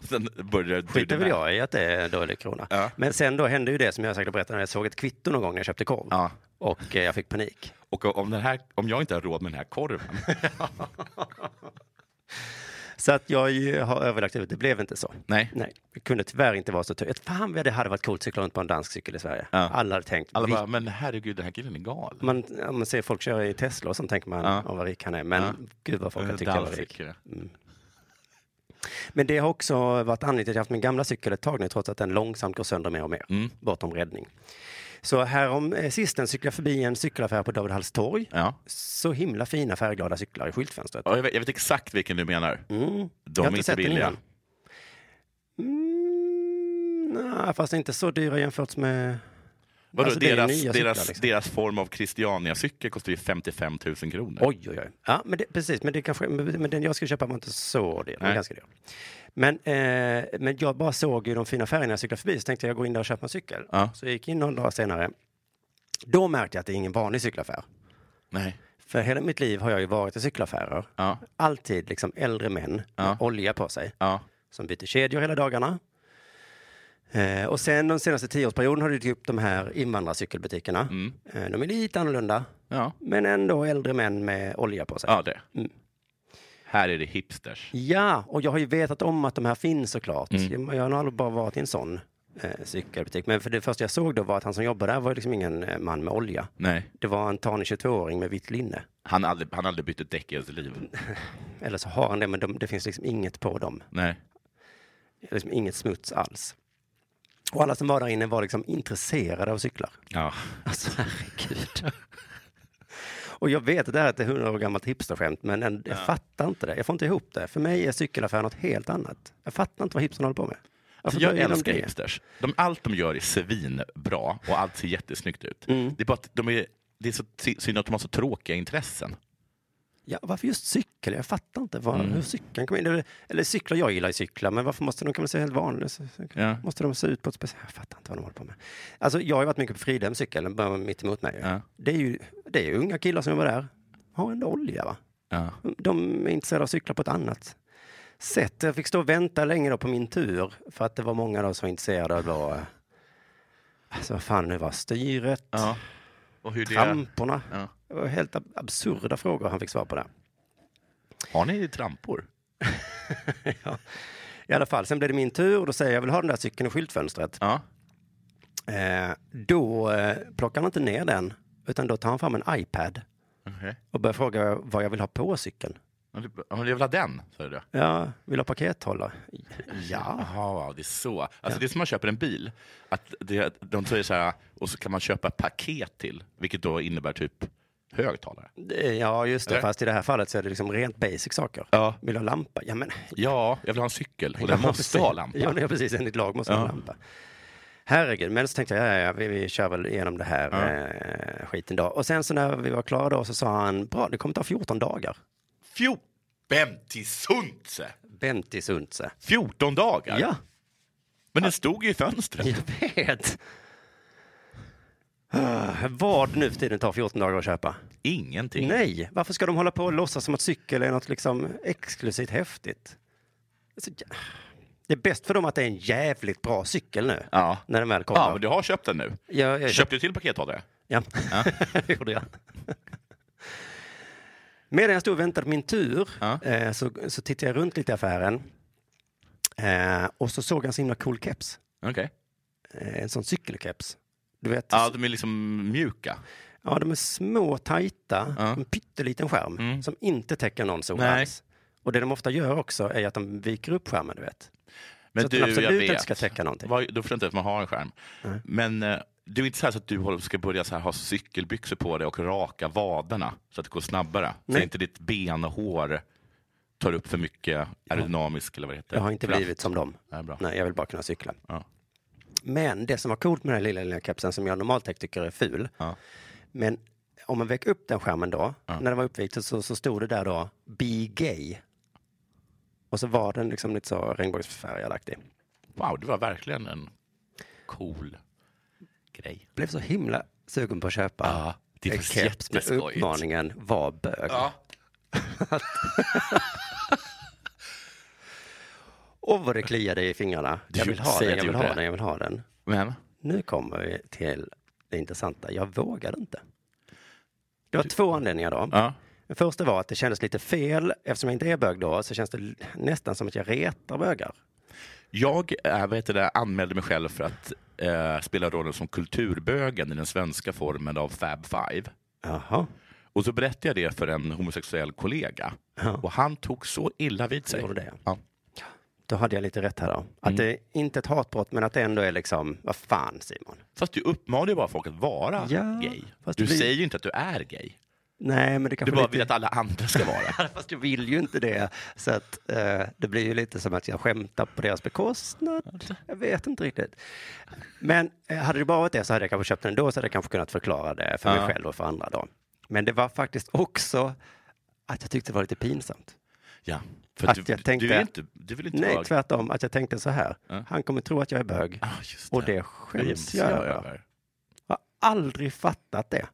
Sen började du
Skiter
det
väl
där.
jag i att det är dålig krona.
Ja.
Men sen då hände ju det som jag säkert berättade när jag såg ett kvitto någon gång när jag köpte korv.
Ja.
Och eh, jag fick panik.
Och om, den här, om jag inte har råd med den här korven.
Så att jag ju har överlagt ut, det blev inte så.
Nej.
Nej, det kunde tyvärr inte vara så tur. Fan vad det hade varit coolt att cykla runt på en dansk cykel i Sverige.
Ja.
Alla hade tänkt,
Alla
vi-
bara, men herregud, den här killen är gal.
man, om man ser folk köra i Tesla och sånt tänker man,
Ja.
åh vad rik han är. Men gud vad folk har tyckt jag var rik.
Danscykel.
Men det har också varit anledningen till att jag haft min gamla cykel ett tag nu trots att den långsamt går sönder mer och mer.
Mm.
Bortom räddning. Så härom eh, sisten cyklade jag förbi en cykelaffär på David Halls torg.
Ja.
Så himla fina färgglada cyklar i skyltfönstret. Mm.
Ja, jag, vet, jag vet exakt vilken du menar. De
har
är
inte
inte,
sett den
billiga.
innan. Mm, nej, fast inte så dyra jämfört med...
Vadå,
Alltså, det är
deras,
nya
deras,
cyklar, liksom.
deras form av Christiania-cykel kostar ju 55 000 kronor.
Oj, oj, oj. Ja, men det, precis, men, det kanske, men den jag skulle köpa var inte så dyr. Den var
Nej.
ganska dyr. Men, eh, men jag bara såg ju de fina färgerna när jag cyklade förbi så tänkte jag gå in där och köpa en cykel.
Ja.
Så jag gick in någon dag senare. Då märkte jag att det är ingen vanlig cykelaffär.
Nej.
För hela mitt liv har jag ju varit i cykelaffärer.
Ja.
Alltid liksom äldre män med olja på sig
Ja.
som byter kedjor hela dagarna. Eh, och sen den senaste tioårsperioden har det dykt upp de här invandrarcykelbutikerna. Eh, de är lite annorlunda,
Ja.
men ändå äldre män med olja på sig.
ja, det.
Mm.
Här är det hipsters.
Ja, och jag har ju vetat om att de här finns såklart. Jag, jag har nog aldrig bara varit i en sån eh, cykelbutik. Men för det första jag såg då var att han som jobbade där var ju liksom ingen eh, man med olja.
Nej.
Det var en tanig 22-åring med vitt linne.
Han har aldrig, han har aldrig bytt ett däck i hela sitt liv.
Eller så har han det, men de, det finns liksom inget på dem.
Nej.
Liksom inget smuts alls. Och alla som var där inne var liksom intresserade av cyklar.
Ja.
Alltså herregud. Och jag vet att det här är ett 100 år gammalt hipsterskämt, men en, jag fattar inte det. Jag får inte ihop det. För mig är cykelaffär något helt annat. Jag fattar inte vad hipstern håller på med. Varför
Alltså, Jag
börjar de
älskar
det?
hipsters. De, allt de gör är svinbra och allt ser jättesnyggt ut.
Mm.
Det är bara att de är, det är så ty- synd att de har så tråkiga intressen.
Ja, varför just cykel? Jag fattar inte var,
Mm.
hur cykeln kommer in. Eller, eller cyklar, jag gillar ju cyklar, men varför måste de kunna se helt vanliga så- så-
Ja.
Måste de se ut på ett speciellt... Jag fattar inte vad de håller på med. Alltså, jag har ju varit mycket på Fridhem cykel, den börjar mitt emot mig.
Ja.
Det, är ju, det är ju unga killar som var där. Har ändå olja, va?
Ja.
De är intresserade av att cykla på ett annat sätt. Jag fick stå och vänta länge då på min tur för att det var många då som var intresserade av då, eh, alltså vad fan nu var styret,
ja. Och hur det...
tramporna.
Ja.
Det var helt ab- absurda frågor han fick svar på där.
Har ni trampor?
ja. I alla fall, sen blev det min tur och då säger jag, jag vill ha den där cykeln i skyltfönstret.
Ja.
Eh, då eh, plockar han inte ner den utan då tar han fram en iPad
Okej.
och börjar fråga vad jag vill ha på cykeln.
Ja, du- ja, men Jag vill ha den, sa du. det?
Ja, vill ha pakethållare? Ja.
Jaha, det är så. Alltså Det är som man köper en bil. Att det, de säger så här, och så kan man köpa ett paket till, vilket då innebär typ högtalare.
Det- Ja, just det.
Eller?
Fast i det här fallet så är det liksom rent basic saker.
Ja.
Vill du ha lampa? Ja, men...
Ja, jag vill ha en cykel och den
Ja,
måste
precis.
ha lampa.
Ja, nej, precis. Enligt lag måste man ha lampa. Herregud, men så tänkte jag, ja, ja, vi, vi kör väl igenom det här eh, skiten då. Och sen så när vi var klara då så sa han, bra, det kommer ta 14 dagar.
Fjort... Bemtisunse!
Benti Sundse.
14 dagar?
Ja,
Men den stod ju i fönstret.
jag vet. Ah, Vad nu för tiden tar 14 dagar att köpa?
Ingenting.
Nej, varför ska de hålla på och låtsas som att cykel är något liksom exklusivt häftigt? Alltså, ja. Det är bäst för dem att det är en jävligt bra cykel nu.
Ja.
När den väl kommer.
Ja, men du har köpt den nu.
jag, jag,
Köpte du till pakethållare?
Ja, det gjorde jag. Medan jag stod och väntade på min tur
Ja.
eh, så, så tittade jag runt lite i affären. Eh, och så såg jag en så himla cool keps.
Okej.
Eh, en sån cykelkeps. Du vet,
Ja, de är liksom mjuka.
Ja, de är små, tajta,
Ja.
en pytteliten skärm
Mm.
som inte täcker någon sol
Nej.
alls. Och det de ofta gör också är att de viker upp skärmen, du vet.
Men
så att
du,
den absolut
jag vet.
inte ska täcka någonting.
Vad- Då förstår jag inte att man har en skärm. Men eh, det är inte så, här så att du håller- ska börja så här, ha cykelbyxor på dig och raka vaderna så att det går snabbare. Så
Nej.
att inte ditt benhår tar upp för mycket aerodynamisk eller vad det heter.
Jag har inte
kraft.
blivit som dem.
Nej, bra.
Nej, jag vill bara kunna cykla.
Ja.
Men det som var coolt med den här lilla, lilla kepsen som jag normalt sett tycker är ful.
Ja.
Men om man väcker upp den skärmen då, när den var uppvikt så, så stod det där då Be gay. Och så var den liksom lite så regnbågsfärgad-aktig.
Wow, det var verkligen en cool grej.
Blev så himla sugen på att köpa.
Ja, det är
en
faktiskt
keps med
jätteskojigt.
uppmaningen var bög.
Ja.
Och vad det kliade i fingrarna.
Du
Jag vill ha
säger
den,
att
jag
du
vill
gjorde
ha
det.
den, jag vill ha den.
Men
Nu kommer vi till det intressanta. Jag vågade inte. Det var två anledningar då.
ja.
Den första var att det kändes lite fel. Eftersom jag inte är bög då så känns det l- nästan som att jag retar bögar.
jag äh, vad heter det, anmälde mig själv för att eh, spela rollen som kulturbögen i den svenska formen av Fab Five.
Jaha,
Och så berättade jag det för en homosexuell kollega. Och han tog så illa vid sig.
Gjorde det, ja.
Ja.
då hade jag lite rätt här då. Att det är inte ett hatbrott men att det ändå är liksom, vad fan Simon.
Fast du uppmanar ju bara folk att vara
Ja,
gay.
fast
Du
vi-
säger ju inte att du är gay.
Nej men det
Du
kanske
bara
lite...
vill att alla andra ska vara.
Fast jag vill ju inte det. Så att eh, det blir ju lite som att jag skämtar på deras bekostnad. Jag vet inte riktigt. Men eh, hade det bara varit det så hade jag kanske köpt den då så hade jag kanske kunnat förklara det för
Ja.
mig själv och för andra då. Men det var faktiskt också att jag tyckte det var lite pinsamt.
ja. För
Att
du,
jag tänkte-
du, är inte, du vill inte
Nej,
vara...
tvärtom. Att jag tänkte så här. Han kommer tro att jag är bög.
Ah, just
Och det
Det
skäms
jag
jag över.
över.
Jag har aldrig fattat det.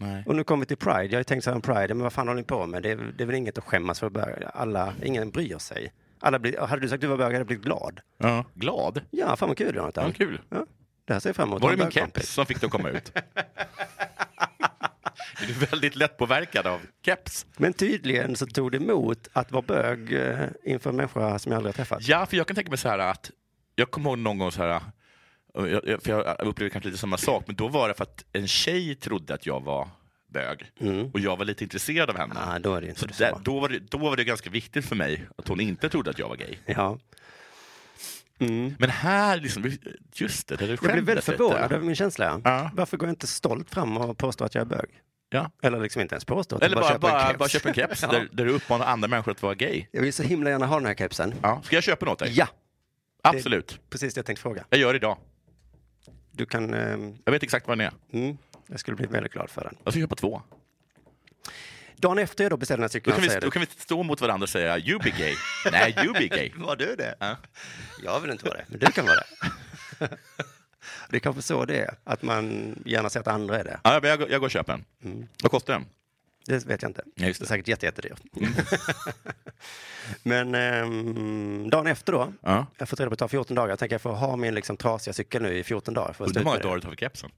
Nej.
Och nu kommer vi till Pride. Jag har ju tänkt så här om Pride, men vad fan håller ni på med? Det är, det är väl inget att skämmas för. bögar. Alla, ingen bryr sig. Alla blir, hade du sagt att du var bög hade jag blivit glad.
Ja. Glad?
Ja, fan vad kul Jonathan.
Ja, kul.
Ja, det här ser jag fram emot.
Var det
Jag har
min
en bögkompis.
keps som fick dig att komma ut? är du väldigt lättpåverkad av keps?
Men tydligen så tog det emot att vara bög eh, inför en människa som jag aldrig har träffat.
Ja, för jag kan tänka mig så här att jag kommer ihåg någon gång så här, eh, jag- jag- för jag upplevde kanske lite samma sak, men då var det för att en tjej trodde att jag var bög och jag var lite intresserad av henne.
Mm. Ah, då är det
Så
inte så.
där, då, var det, då var det ganska viktigt för mig att hon inte trodde att jag var gay.
Ja.
Men här, liksom, just det, det
Jag blev väldigt förvånad
Lite.
över min känsla.
Ja.
Varför går jag inte stolt fram och påstår att jag är bög?
Ja.
Eller liksom inte ens påstår att
Eller
jag
bara,
bara,
bara,
köper en
bara,
keps.
köpa en keps
Ja.
där, där du uppmanar andra människor att vara gay.
Jag vill så himla gärna ha den här kepsen.
Ja. Ska jag köpa något? dig?
Ja,
Absolut.
precis det jag tänkte fråga.
Jag gör det idag.
Du kan... ehm,
Jag vet exakt vad den är.
Mm, jag skulle bli väldigt glad för den.
Jag ska köpa två.
Dagen efter jag då beställde den här
Då
cykeln
kan, vi,
säger
då kan vi stå mot varandra och säga you be gay. Nej, you be gay.
Var du det?
Ja.
Jag vill inte vara det, men du kan vara det. det är kanske så det är, att man gärna ser att andra är det.
Ja, men jag, går- jag går och köper en. Vad kostar den?
Det vet jag inte.
Ja, just det. Mm.
är säkert jätte, jättedyrt. men ehm, dagen efter då,
Ja.
jag har fått reda på att det tar 14 dagar. Jag tänker jag får ha min liksom, trasiga cykel nu i 14 dagar. För att stå
Undrar hur många
ut med det.
dagar du tar för kepsen.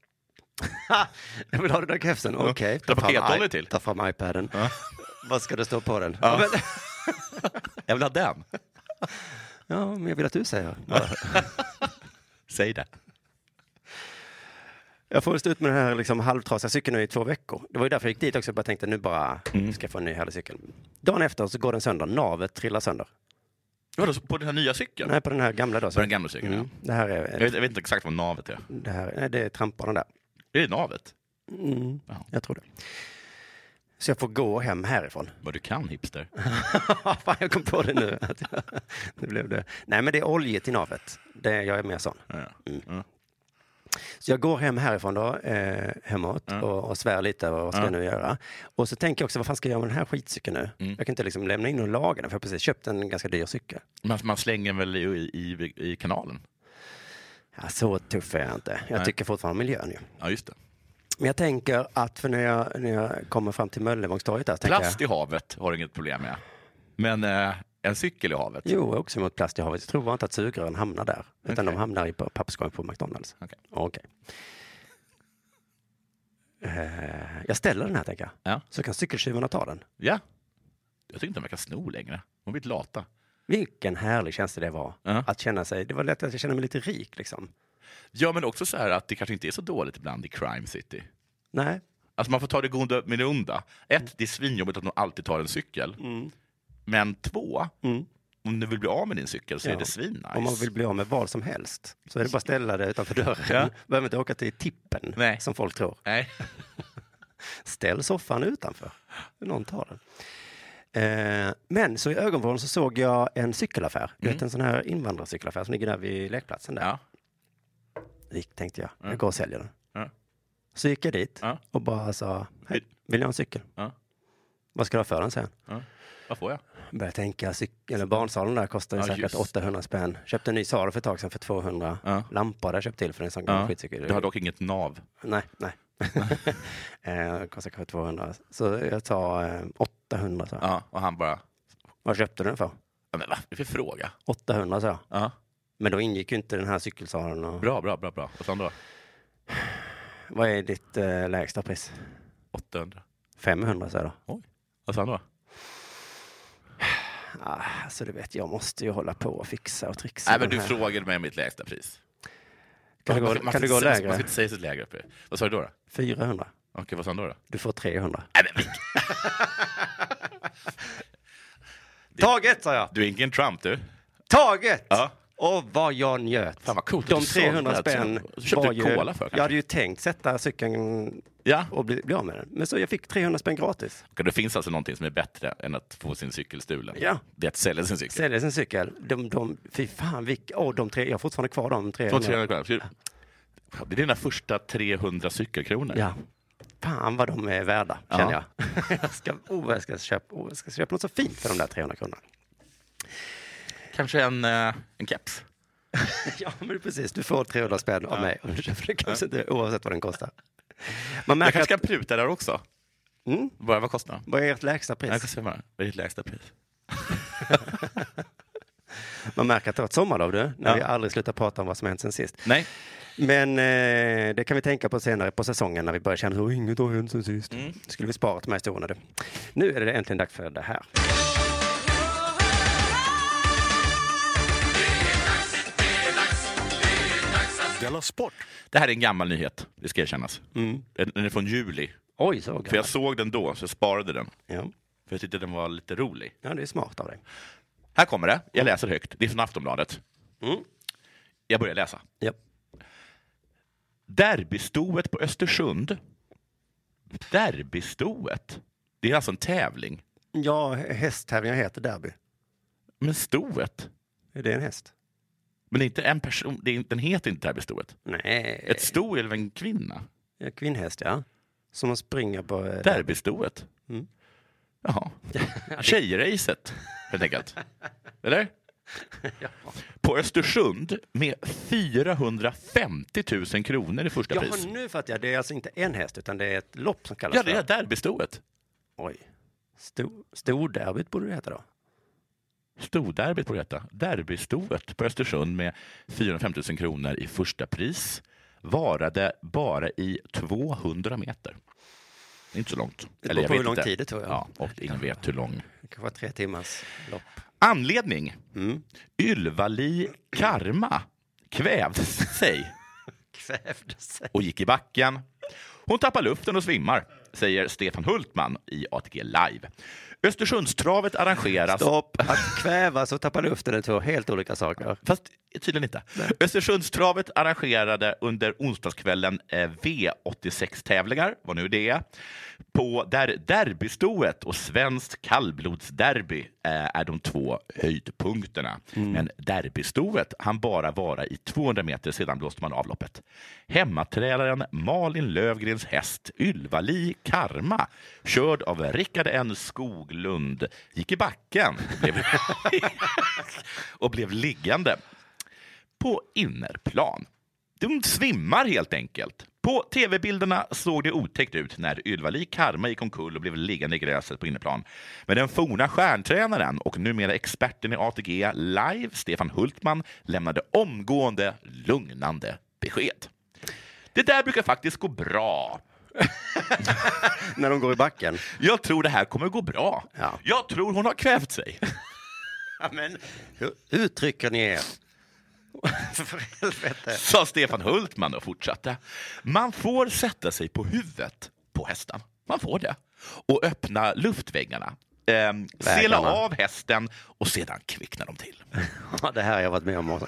Jag vill ha den där kepsen, okej.
Ta
fram
pakethållet
i-
till.
Ta fram iPaden. Vad ska det stå på den?
Ja.
Ja, men,
Jag vill ha den.
ja, men jag vill att du säger.
Säg det.
Jag får stå ut med den här liksom halvtrasiga cykeln nu i två veckor. Det var ju därför jag gick dit också. Jag bara tänkte nu bara
Mm.
ska jag få en ny härlig cykel. Dagen efter så går den sönder. Navet trillar sönder.
Vadå, så på den här nya cykeln?
Nej, på den här gamla då.
På
Så.
den gamla cykeln,
Mm.
ja.
Det här
Jag
är,
vet, jag vet inte exakt vad navet är.
det här, nej, det är trampbanan där.
Är det navet?
Mm,
Ja.
jag tror det. Så jag får gå hem härifrån.
Vad du kan, hipster.
Fan, jag kom på det nu. Att jag, nu blev det. Nej, men det är oljigt i navet. Det, jag är mer sån.
Ja.
Så jag går hem härifrån då, eh, hemåt
Mm.
och, och svär lite över vad ska jag nu göra. Och så tänker jag också, vad fan ska jag göra med den här skitcykeln nu?
Mm.
Jag kan inte liksom lämna in och laga den, för jag har precis köpt en ganska dyr cykel.
Man, man slänger väl i, i, i, i kanalen?
Ja, så tuff är jag inte. Jag
Nej.
tycker fortfarande om miljön ju.
Ja, just det.
Men jag tänker att för när jag, när jag kommer fram till Möllevångstorget där, så tänker
Plast
jag,
i havet har du inget problem med. Men eh, en cykel i havet?
Jo, jag är också mot plast i havet. Jag tror bara inte att sugrören hamnar där, utan
Okej.
de hamnar i pa- papperskorgen på McDonalds.
Okej.
Okej. Eh, jag ställer den här, tänker jag.
Ja.
Så kan cykeltjuvarna ta den.
Ja. Jag tycker inte de verkar sno längre. De har blivit lata.
Vilken härlig känsla det var.
Ja.
Att känna sig, det var lätt att jag kände mig lite rik liksom.
Ja, men också så här att det kanske inte är så dåligt ibland i crime city.
Nej,
Alltså man får ta det goda med det onda. Ett, det är svinjobbigt att de alltid tar en cykel. Men två, om du vill bli av med din cykel så
Ja.
är det svinnice.
om man vill bli av med vad som helst så är det bara att ställa det utanför dörren.
Ja.
Behöver inte åka till tippen
Nej.
som folk tror.
Nej.
Ställ soffan utanför. Någon tar den. Eh, Men så i ögonvrån så såg jag en cykelaffär. Du vet en sån här invandrarcykelaffär som ligger där vid lekplatsen där.
Mm. Ja.
Gick, tänkte jag, jag går och säljer den.
Ja.
Så gick jag dit
Ja.
och bara sa, hej, vill jag ha en cykel?
Ja.
Vad ska du ha för den, sen?
Ja. Vad får jag?
Började tänka, cyk- eller barnsalen där kostar ju
Ja,
säkert
just.
800 spänn. Köpte en ny sal för ett tag sedan för 200.
Ja.
Lampor där köpt till för en sån gammal
Ja.
skitcykel.
Du har dock inget nav.
Nej, nej. eh, kostar kanske 200. Så jag tar eh, 800 så.
Ja. Och han bara,
Vad köpte du den för?
ja, men vad är det för fråga?
800 så.
Ja.
Men då ingick ju inte den här cykelsalen. Och...
Bra, bra, bra, bra. Och sen då?
Vad är ditt eh, lägsta pris?
800.
500 så då.
Oj. Och sen då?
Ah, alltså du vet, jag måste ju hålla på och fixa och trixa.
Nej,
med
men du
den här.
frågade mig om mitt lägsta pris.
kan du
Man-
gå,
man- man
kan du
ska
gå
inte säga- Man ska
lägre?
inte säga sitt lägre pris. Vad sa du då? då?
400.
Okej, vad sa han då? då?
Du får 300.
Nej, men Vic,
Taget sa jag!
du är ingen Trump du.
Taget!
Ja.
Och vad jag njöt.
Fan, vad coolt
De
att du sålde
300
den.
spänn
Så köpte
var
du
ju...
cola för, kanske?
jag hade ju tänkt sätta cykeln
Ja.
och bli, bli av med den. Men så jag fick 300 spänn gratis.
Okej, Det finns alltså någonting som är bättre än att få sin cykel stulen.
Ja.
Det är att sälja sin cykel.
Säljer sin cykel. De, de, fy fan, vilk, åh, de tre, jag har fortfarande kvar de
Två,
300.
300 kronor. Det är dina första 300 cykelkronor.
Ja. Fan vad de är värda,
Ja.
känner jag. jag, ska, oh, jag, ska köpa, oh, jag ska köpa något så fint för de där 300 kronorna.
Kanske en, eh, en keps.
Ja, men precis. Du får 300 spänn av mig om du köper en kasse, inte oavsett vad den kostar. Man
Jag
märker
kanske
att,
kan pruta där också.
Mm.
Bara, vad kostar den?
vad är ert lägsta
Jag
pris?
kan se vad det är. Det är ditt lägsta pris.
Man märker att det var ett sommarlov du, när
Ja.
vi aldrig slutar prata om vad som hänt sen sist.
Nej,
Men eh, det kan vi tänka på senare på säsongen när vi börjar känna att inget har hänt sen sist.
Mm.
skulle vi spara till de här historierna. du. Nu är det äntligen dags för det här.
Della Sport!
det här är en gammal nyhet. Det ska erkännas.
Mm.
Den den är från juli.
Oj, så
För
gammal.
jag såg den då, så jag sparade den.
Ja.
För jag tyckte den var lite rolig.
ja, det är smart av dig.
Här kommer det. Jag läser högt. Det är från Aftonbladet.
Mm.
Jag börjar läsa.
Ja.
Derbystoet på Östersund. Derbystoet. Det är alltså en tävling.
ja, hästtävlingar heter derby.
Men stoet?
Är det en häst?
Men det är inte en person. Det är, inte- den heter inte derbystoet.
Nej,
Ett sto är väl en kvinna?
ja, kvinnhäst ja. Som man springer på... eh,
Derbystoet.
Mm.
Jaha. Tjejracet, helt enkelt. Eller? På Östersund med 450 000 kronor i första
Ja,
pris.
nu fattar jag. Det är alltså inte en häst, utan det är ett lopp som kallas
Ja, det är
för...
Alltså, derbystoet.
Oj. Sto- Storderbyt borde det heta då.
Storderbyt på detta. Derbystoet på Östersund med 450 000 kronor i första pris varade bara i 200 meter. Det är Inte så långt.
Det beror
jag
på
vet
hur lång
inte.
tid det tog.
Ja,
Ja.
och ingen vet hur lång.
Det kanske var tre timmars lopp.
Anledning?
Mm.
Ylvali Karma kvävde sig
Kvävde sig.
och gick i backen. Hon tappar luften och svimmar, säger Stefan Hultman i ATG Live. Östersundstravet arrangeras...
Stopp! Att kvävas och tappa luften är två helt olika saker.
Fast tydligen inte. Östersundstravet arrangerade under onsdagskvällen eh, V86-tävlingar, vad nu det är, på där derbystoet och svenskt kallblodsderby eh, är de två höjdpunkterna. Men derbystoet han bara vara i 200 meter, sedan blåste man av loppet. Hemmatränaren Malin Lövgrens häst Ylvali Karma, körd av Rickard N Skoglund, gick i backen. Blev och blev liggande på innerplan. De svimmar helt enkelt. På tv-bilderna såg det otäckt ut när Ylva-Li Karma gick omkull och blev liggande i gräset på inneplan. Men den forna stjärntränaren och numera experten i ATG Live, Stefan Hultman, lämnade omgående lugnande besked. Det där brukar faktiskt gå bra.
När de går i backen.
Jag tror det här kommer gå bra.
Ja.
Jag tror hon har kvävt sig.
men hur uttrycker ni er? För helvete.
sa Stefan Hultman och fortsatte. Man får sätta sig på huvudet på hästen. Man får det. Och öppna luftväggarna. Ehm, sela
Vägarna.
av hästen och sedan kvicknar de till.
Ja, det här har jag varit med om.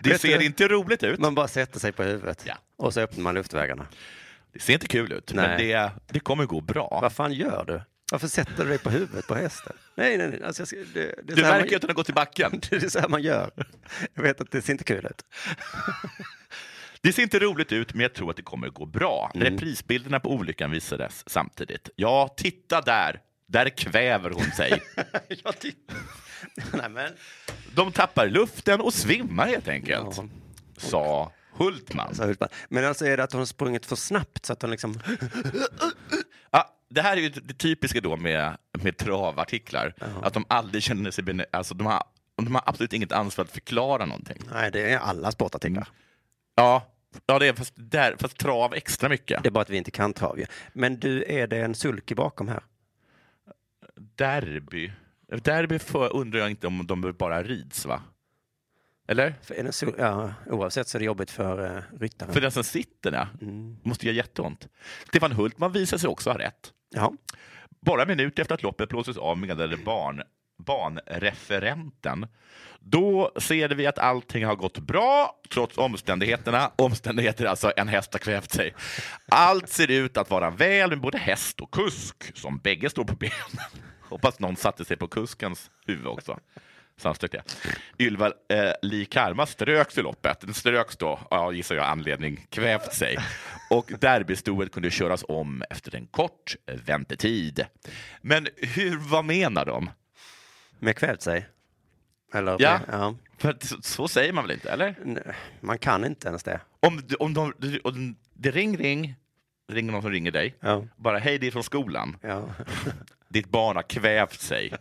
Det
Vet
ser
du-
inte roligt ut.
Man bara sätter sig på huvudet
Ja.
och så öppnar man luftvägarna.
Det ser inte kul ut, men
Nej.
det, det kommer gå bra.
Vad fan gör du? Varför sätter du dig på huvudet på hästen? Nej, nej, nej. Alltså, jag ska, det, det, är
Du
så här
verkar ju inte ha gått i backen.
man, det är så här man gör. Jag vet att det ser inte kul ut.
Det ser inte roligt ut, men jag tror att det kommer gå bra.
Mm.
Reprisbilderna på olyckan visades samtidigt. Ja, titta där! Där kväver hon sig.
Jag tycker... Nej, men...
De tappar luften och svimmar helt enkelt,
Ja.
sa Hultman.
Så Hultman. Men alltså är det att hon har sprungit för snabbt så att hon liksom...
Ja, det här är ju det typiska då med, med travartiklar, att de aldrig känner sig... Bene- alltså, de, har, de har absolut inget ansvar att förklara någonting.
Nej, det är alla sportartiklar.
Ja, ja det är fast, där, fast trav extra mycket.
Det är bara att vi inte kan trav ju. Men du, är det en sulky bakom här?
Derby. Derby för, undrar jag inte om de bara rids, va? Eller?
För är det en sul... ja, oavsett så är det jobbigt för eh, ryttaren.
För den som sitter där måste göra jätteont. Stefan Hultman visar sig också ha rätt.
Ja.
Bara en minut efter att loppet blåses av meddelade barn, banreferenten. Då ser vi att allting har gått bra, trots omständigheterna. Omständigheter alltså, en häst har kvävt sig. Allt ser ut att vara väl med både häst och kusk, som bägge står på benen. Hoppas någon satte sig på kuskens huvud också. Sannolikt det. Ylva eh, Li Karma ströks i loppet. Den ströks då, ja, gissar jag, anledning kvävt sig. Och derbystoet kunde köras om efter en kort väntetid. Men hur, vad menar de?
Med kvävt sig? Eller?
Ja.
ja.
För att, så, så säger man väl inte, eller?
Nej, Man kan inte ens det.
Om, om, de, om det ring, ring, ringer någon som ringer dig.
Ja.
Bara, hej, det är från skolan.
Ja.
Ditt barn har kvävt sig.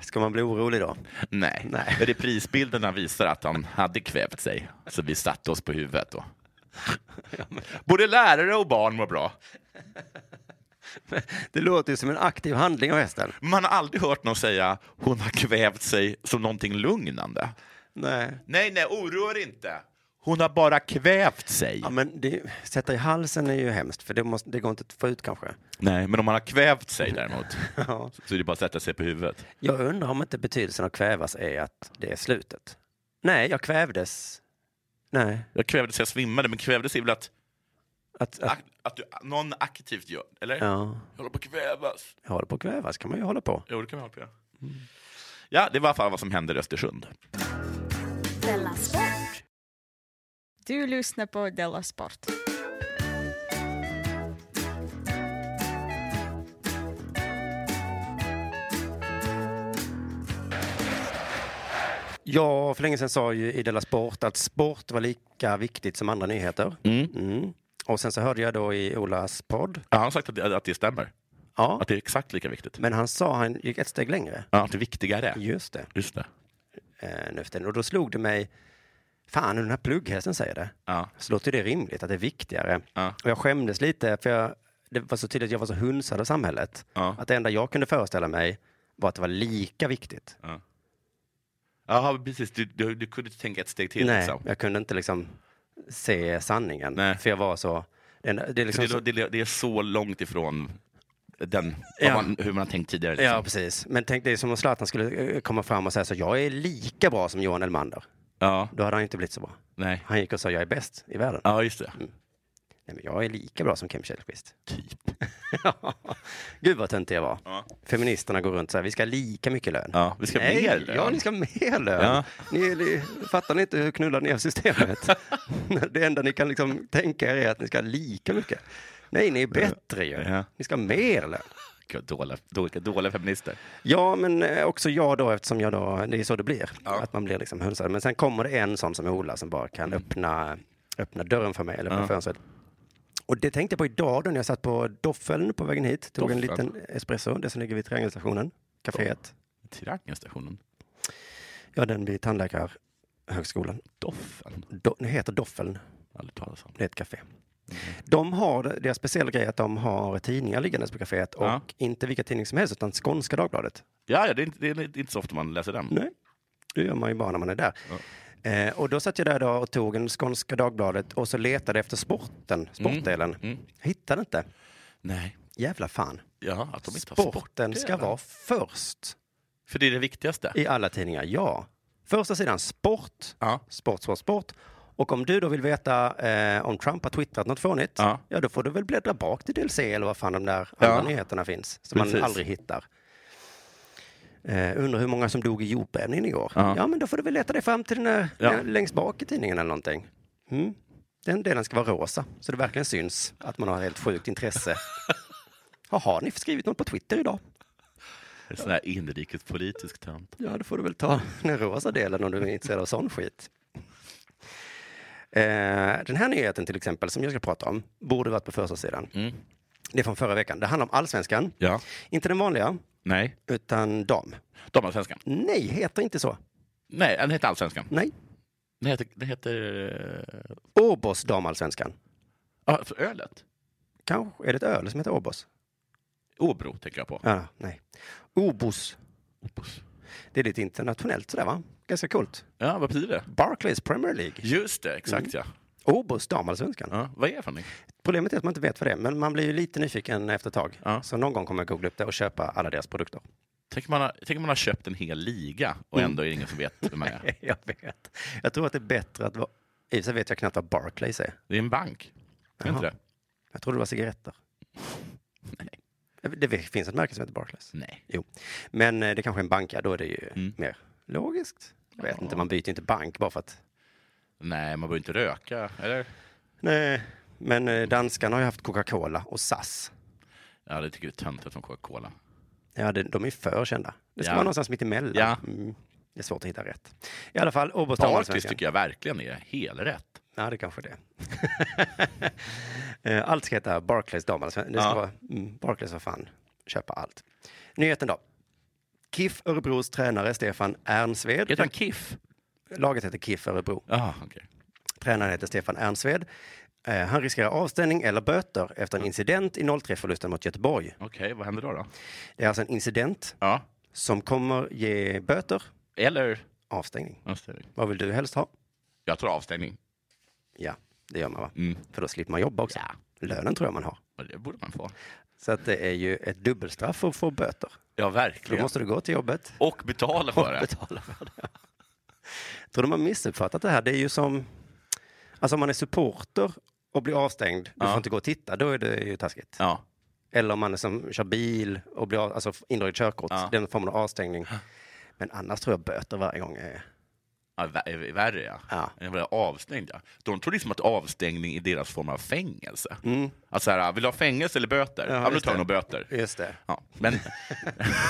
Ska man bli orolig då?
Nej.
Nej.
Reprisbilderna visar att han hade kvävt sig, så vi satte oss på huvudet då. Både lärare och barn mår bra.
Det låter ju som en aktiv handling av hästen.
Men Man har aldrig hört någon säga hon har kvävt sig som någonting lugnande.
Nej.
Nej, nej, oroa er inte. Hon har bara kvävt sig.
Ja, men det, sätta i halsen är ju hemskt, för det, måste, det går inte att få ut kanske.
Nej, men om man har kvävt sig däremot
Ja.
så är det bara att sätta sig på huvudet.
Jag undrar om inte betydelsen av kvävas är att det är slutet. Nej, jag kvävdes. Nej,
Jag kvävde så jag svimmade, men kvävde sig väl att,
att, att
ak- att du, någon aktivt gör, eller?
ja,
Jag håller på att kvävas.
jag håller på att kvävas kan man ju hålla på.
Jo, det kan man hålla på att göra. Ja, det var i alla fall vad som hände i Östersund.
Della Sport.
Du lyssnar på Della Sport.
Jag för länge sedan sa ju i Della Sport att sport var lika viktigt som andra nyheter. Mm. Och sen så hörde jag då i Olas podd,
Ja, han har sagt att det, att det stämmer.
ja,
Att det är exakt lika viktigt.
men han sa han gick ett steg längre.
Ja, att det viktigare är.
Just det,
Just det.
eh, nu för tiden. Och då slog det mig, fan hur den här plugghästen säger det.
Ja.
så låter det rimligt att det är viktigare.
Ja.
Och jag skämdes lite för jag, det var så tydligt att jag var så hunsad av samhället.
Ja.
Att det enda jag kunde föreställa mig var att det var lika viktigt.
Jaha, precis. Du, du, du kunde inte tänka ett steg till.
Nej,
Liksom.
jag kunde inte liksom se sanningen.
Nej.
För jag var så... Det, enda- det är liksom
För Det, det, det är så långt ifrån den,
Ja.
vad man, hur man har tänkt tidigare.
så,
Liksom.
ja, precis. Men tänk det är som om Zlatan skulle eh, komma fram och säga så, jag är lika bra som Johan Elmander.
Ja,
Då hade han ju inte blivit så bra.
nej.
Han gick och sa, jag är bäst i världen.
Ja, just det.
Nej, men jag är lika bra som Kim Källqvist.
Mm, Typ.
Gud vad töntig jag var.
Ja.
Feministerna går runt så här, vi ska ha lika mycket lön.
Ja, vi ska ha
Nej,
mer lön.
Ja, ni ska ha mer lön.
Ja.
Ni, ni, fattar ni inte hur knullade ni är av systemet? det enda ni kan liksom tänka er är att ni ska ha lika mycket. Nej, ni är bättre ju.
Ja.
Ni ska ha mer lön.
Vilka dåliga, dåliga, dåliga feminister.
Ja, men eh, också jag då eftersom jag då, det är så det blir. Att man blir liksom hunsad. Men sen kommer det en sån som är Ola som bara kan
Mm.
öppna, öppna dörren för mig eller öppna fönstret. Och det tänkte jag på idag då när jag satt på Doffeln på vägen hit. Tog en
Doffeln?
liten espresso, det som ligger vid triangelstationen, kaféet.
Triangelstationen.
Ja, den vid Tandläkarhögskolan.
Doffen?
Do, den heter Doffeln,
Aldrig talas om.
det är ett café. De har, deras speciella grej är att de har tidningar liggandes på kaféet och
Ja.
inte vilka tidningar som helst utan Skånska Dagbladet.
Ja, ja det, är inte, det är inte så ofta man läser den.
Nej, det gör man ju bara när man är där. Eh, och då satt jag där då och tog en Skånska Dagbladet och så letade efter sporten,
Mm.
sportdelen. Hittade inte.
Nej.
Jävla fan.
Ja, att de inte har sport.
Sporten ska vara först
För det är det viktigaste.
i alla tidningar, ja. Första sidan, sport,
Ja.
sport, sport, sport. Och om du då vill veta eh, om Trump har twittrat något fånigt,
Ja.
ja. då får du väl bläddra bak till DLC eller vad fan de där andra
Ja.
nyheterna finns, som
Precis.
man aldrig hittar. Eh, undrar hur många som dog i jordbävningen igår?
Ja.
Ja. men då får du väl leta dig fram till den där
Ja.
eh, längst bak i tidningen eller någonting. Mm. Den delen ska vara rosa, så det verkligen syns att man har ett helt sjukt intresse. Jaha, har ni skrivit något på Twitter idag?
En sån här inrikespolitisk tönt.
Ja, då får du väl ta den rosa delen om du är intresserad av sån skit. Eh, Den här nyheten till exempel, som jag ska prata om, borde varit på första sidan. Det är från förra veckan. Det handlar om allsvenskan.
Mm. Ja.
Inte den vanliga,
Nej.
utan dam.
Damallsvenskan.
Nej, heter inte så.
Nej, den heter Allsvenskan.
Nej.
Den heter... Den heter eh,
Åbos damallsvenskan.
ja, för ölet.
Kanske är det ett öl som heter Åbos?
Åbro tänker jag på.
Ja, nej. Obos.
Opus.
Det är lite internationellt sådär va? Ganska coolt.
Ja, vad betyder det?
Barclays Premier League.
Just det, exakt ja.
Åbos damallsvenskan.
ja. Vad är det för någonting?
Problemet är att man inte vet vad det är, men man blir ju lite nyfiken efter ett tag.
Ja.
Så någon gång kommer jag googla upp det och köpa alla deras produkter.
Tänk om man, har- tänk om man har köpt en hel liga och ändå är det ingen som vet hur man är.
jag vet. Jag tror att det är bättre att vara... I och för sig vet jag knappt vad Barclays är.
Det är en bank. Är inte
Jaha.
det?
Jag trodde det var cigaretter. Nej. Det finns ett märke som heter Barclays.
Nej.
Jo. Men eh, det kanske är en bank, ja, då är det ju
Mm.
mer logiskt. Jag vet inte, man byter inte bank bara för att...
Nej, man behöver inte röka. Eller?
Nej. Men eh, danskarna har ju haft Coca-Cola och SAS.
Ja, det tycker jag är töntigt från Coca-Cola.
Ja, det, de är ju för kända. Det ska
Ja.
vara någonstans mitt emellan.
Ja.
Mm. Det är svårt att hitta rätt. I alla fall, Åbos
Barclays
damallsvenskan.
tycker jag verkligen är helrätt.
Ja, det kanske det. Eh, allt ska heta Barclays damallsvenskan. Det ska
Ja.
vara mm, Barclays, vad fan, köpa allt. Nyheten då. KIF Örebros tränare Stefan Ernsved.
Heter han Kiff?
Laget heter KIF Örebro.
Ja, Ah, okej.
Tränaren heter Stefan Ernsved. Eh, han riskerar avstängning eller böter efter en incident i 0-3-förlusten mot Göteborg.
Okej, vad händer då? då?
Det är alltså en incident
Ja.
som kommer ge böter,
Eller?
avstängning.
Avstängning.
Vad vill du helst ha?
Jag tror avstängning.
Ja, det gör man va?
Mm.
För då slipper man jobba också.
Ja.
Lönen tror jag man har.
Och Det borde man få.
Så att det är ju ett dubbelstraff att få böter.
Ja,
Då
verkligen.
måste du gå till jobbet
Och betala
och
för det.
betala för det. Tror de har missuppfattat det här? Det är ju som, alltså om man är supporter och blir avstängd, du
Ja.
får inte gå och titta, då är det ju taskigt.
Ja.
Eller om man är som, kör bil och blir av, alltså indraget körkort,
Ja.
den formen av avstängning. Men annars tror jag böter varje gång är...
Ja, vä- är- är värre ja.
Ja.
Jag blev avstängd ja. De tror liksom att avstängning är deras form av fängelse. Att så här, "Ah, vill du ha fängelse eller böter?
Mm. Ja,
Ja, men då
just
tar jag
det.
nog böter.
Just det.
Ja. Men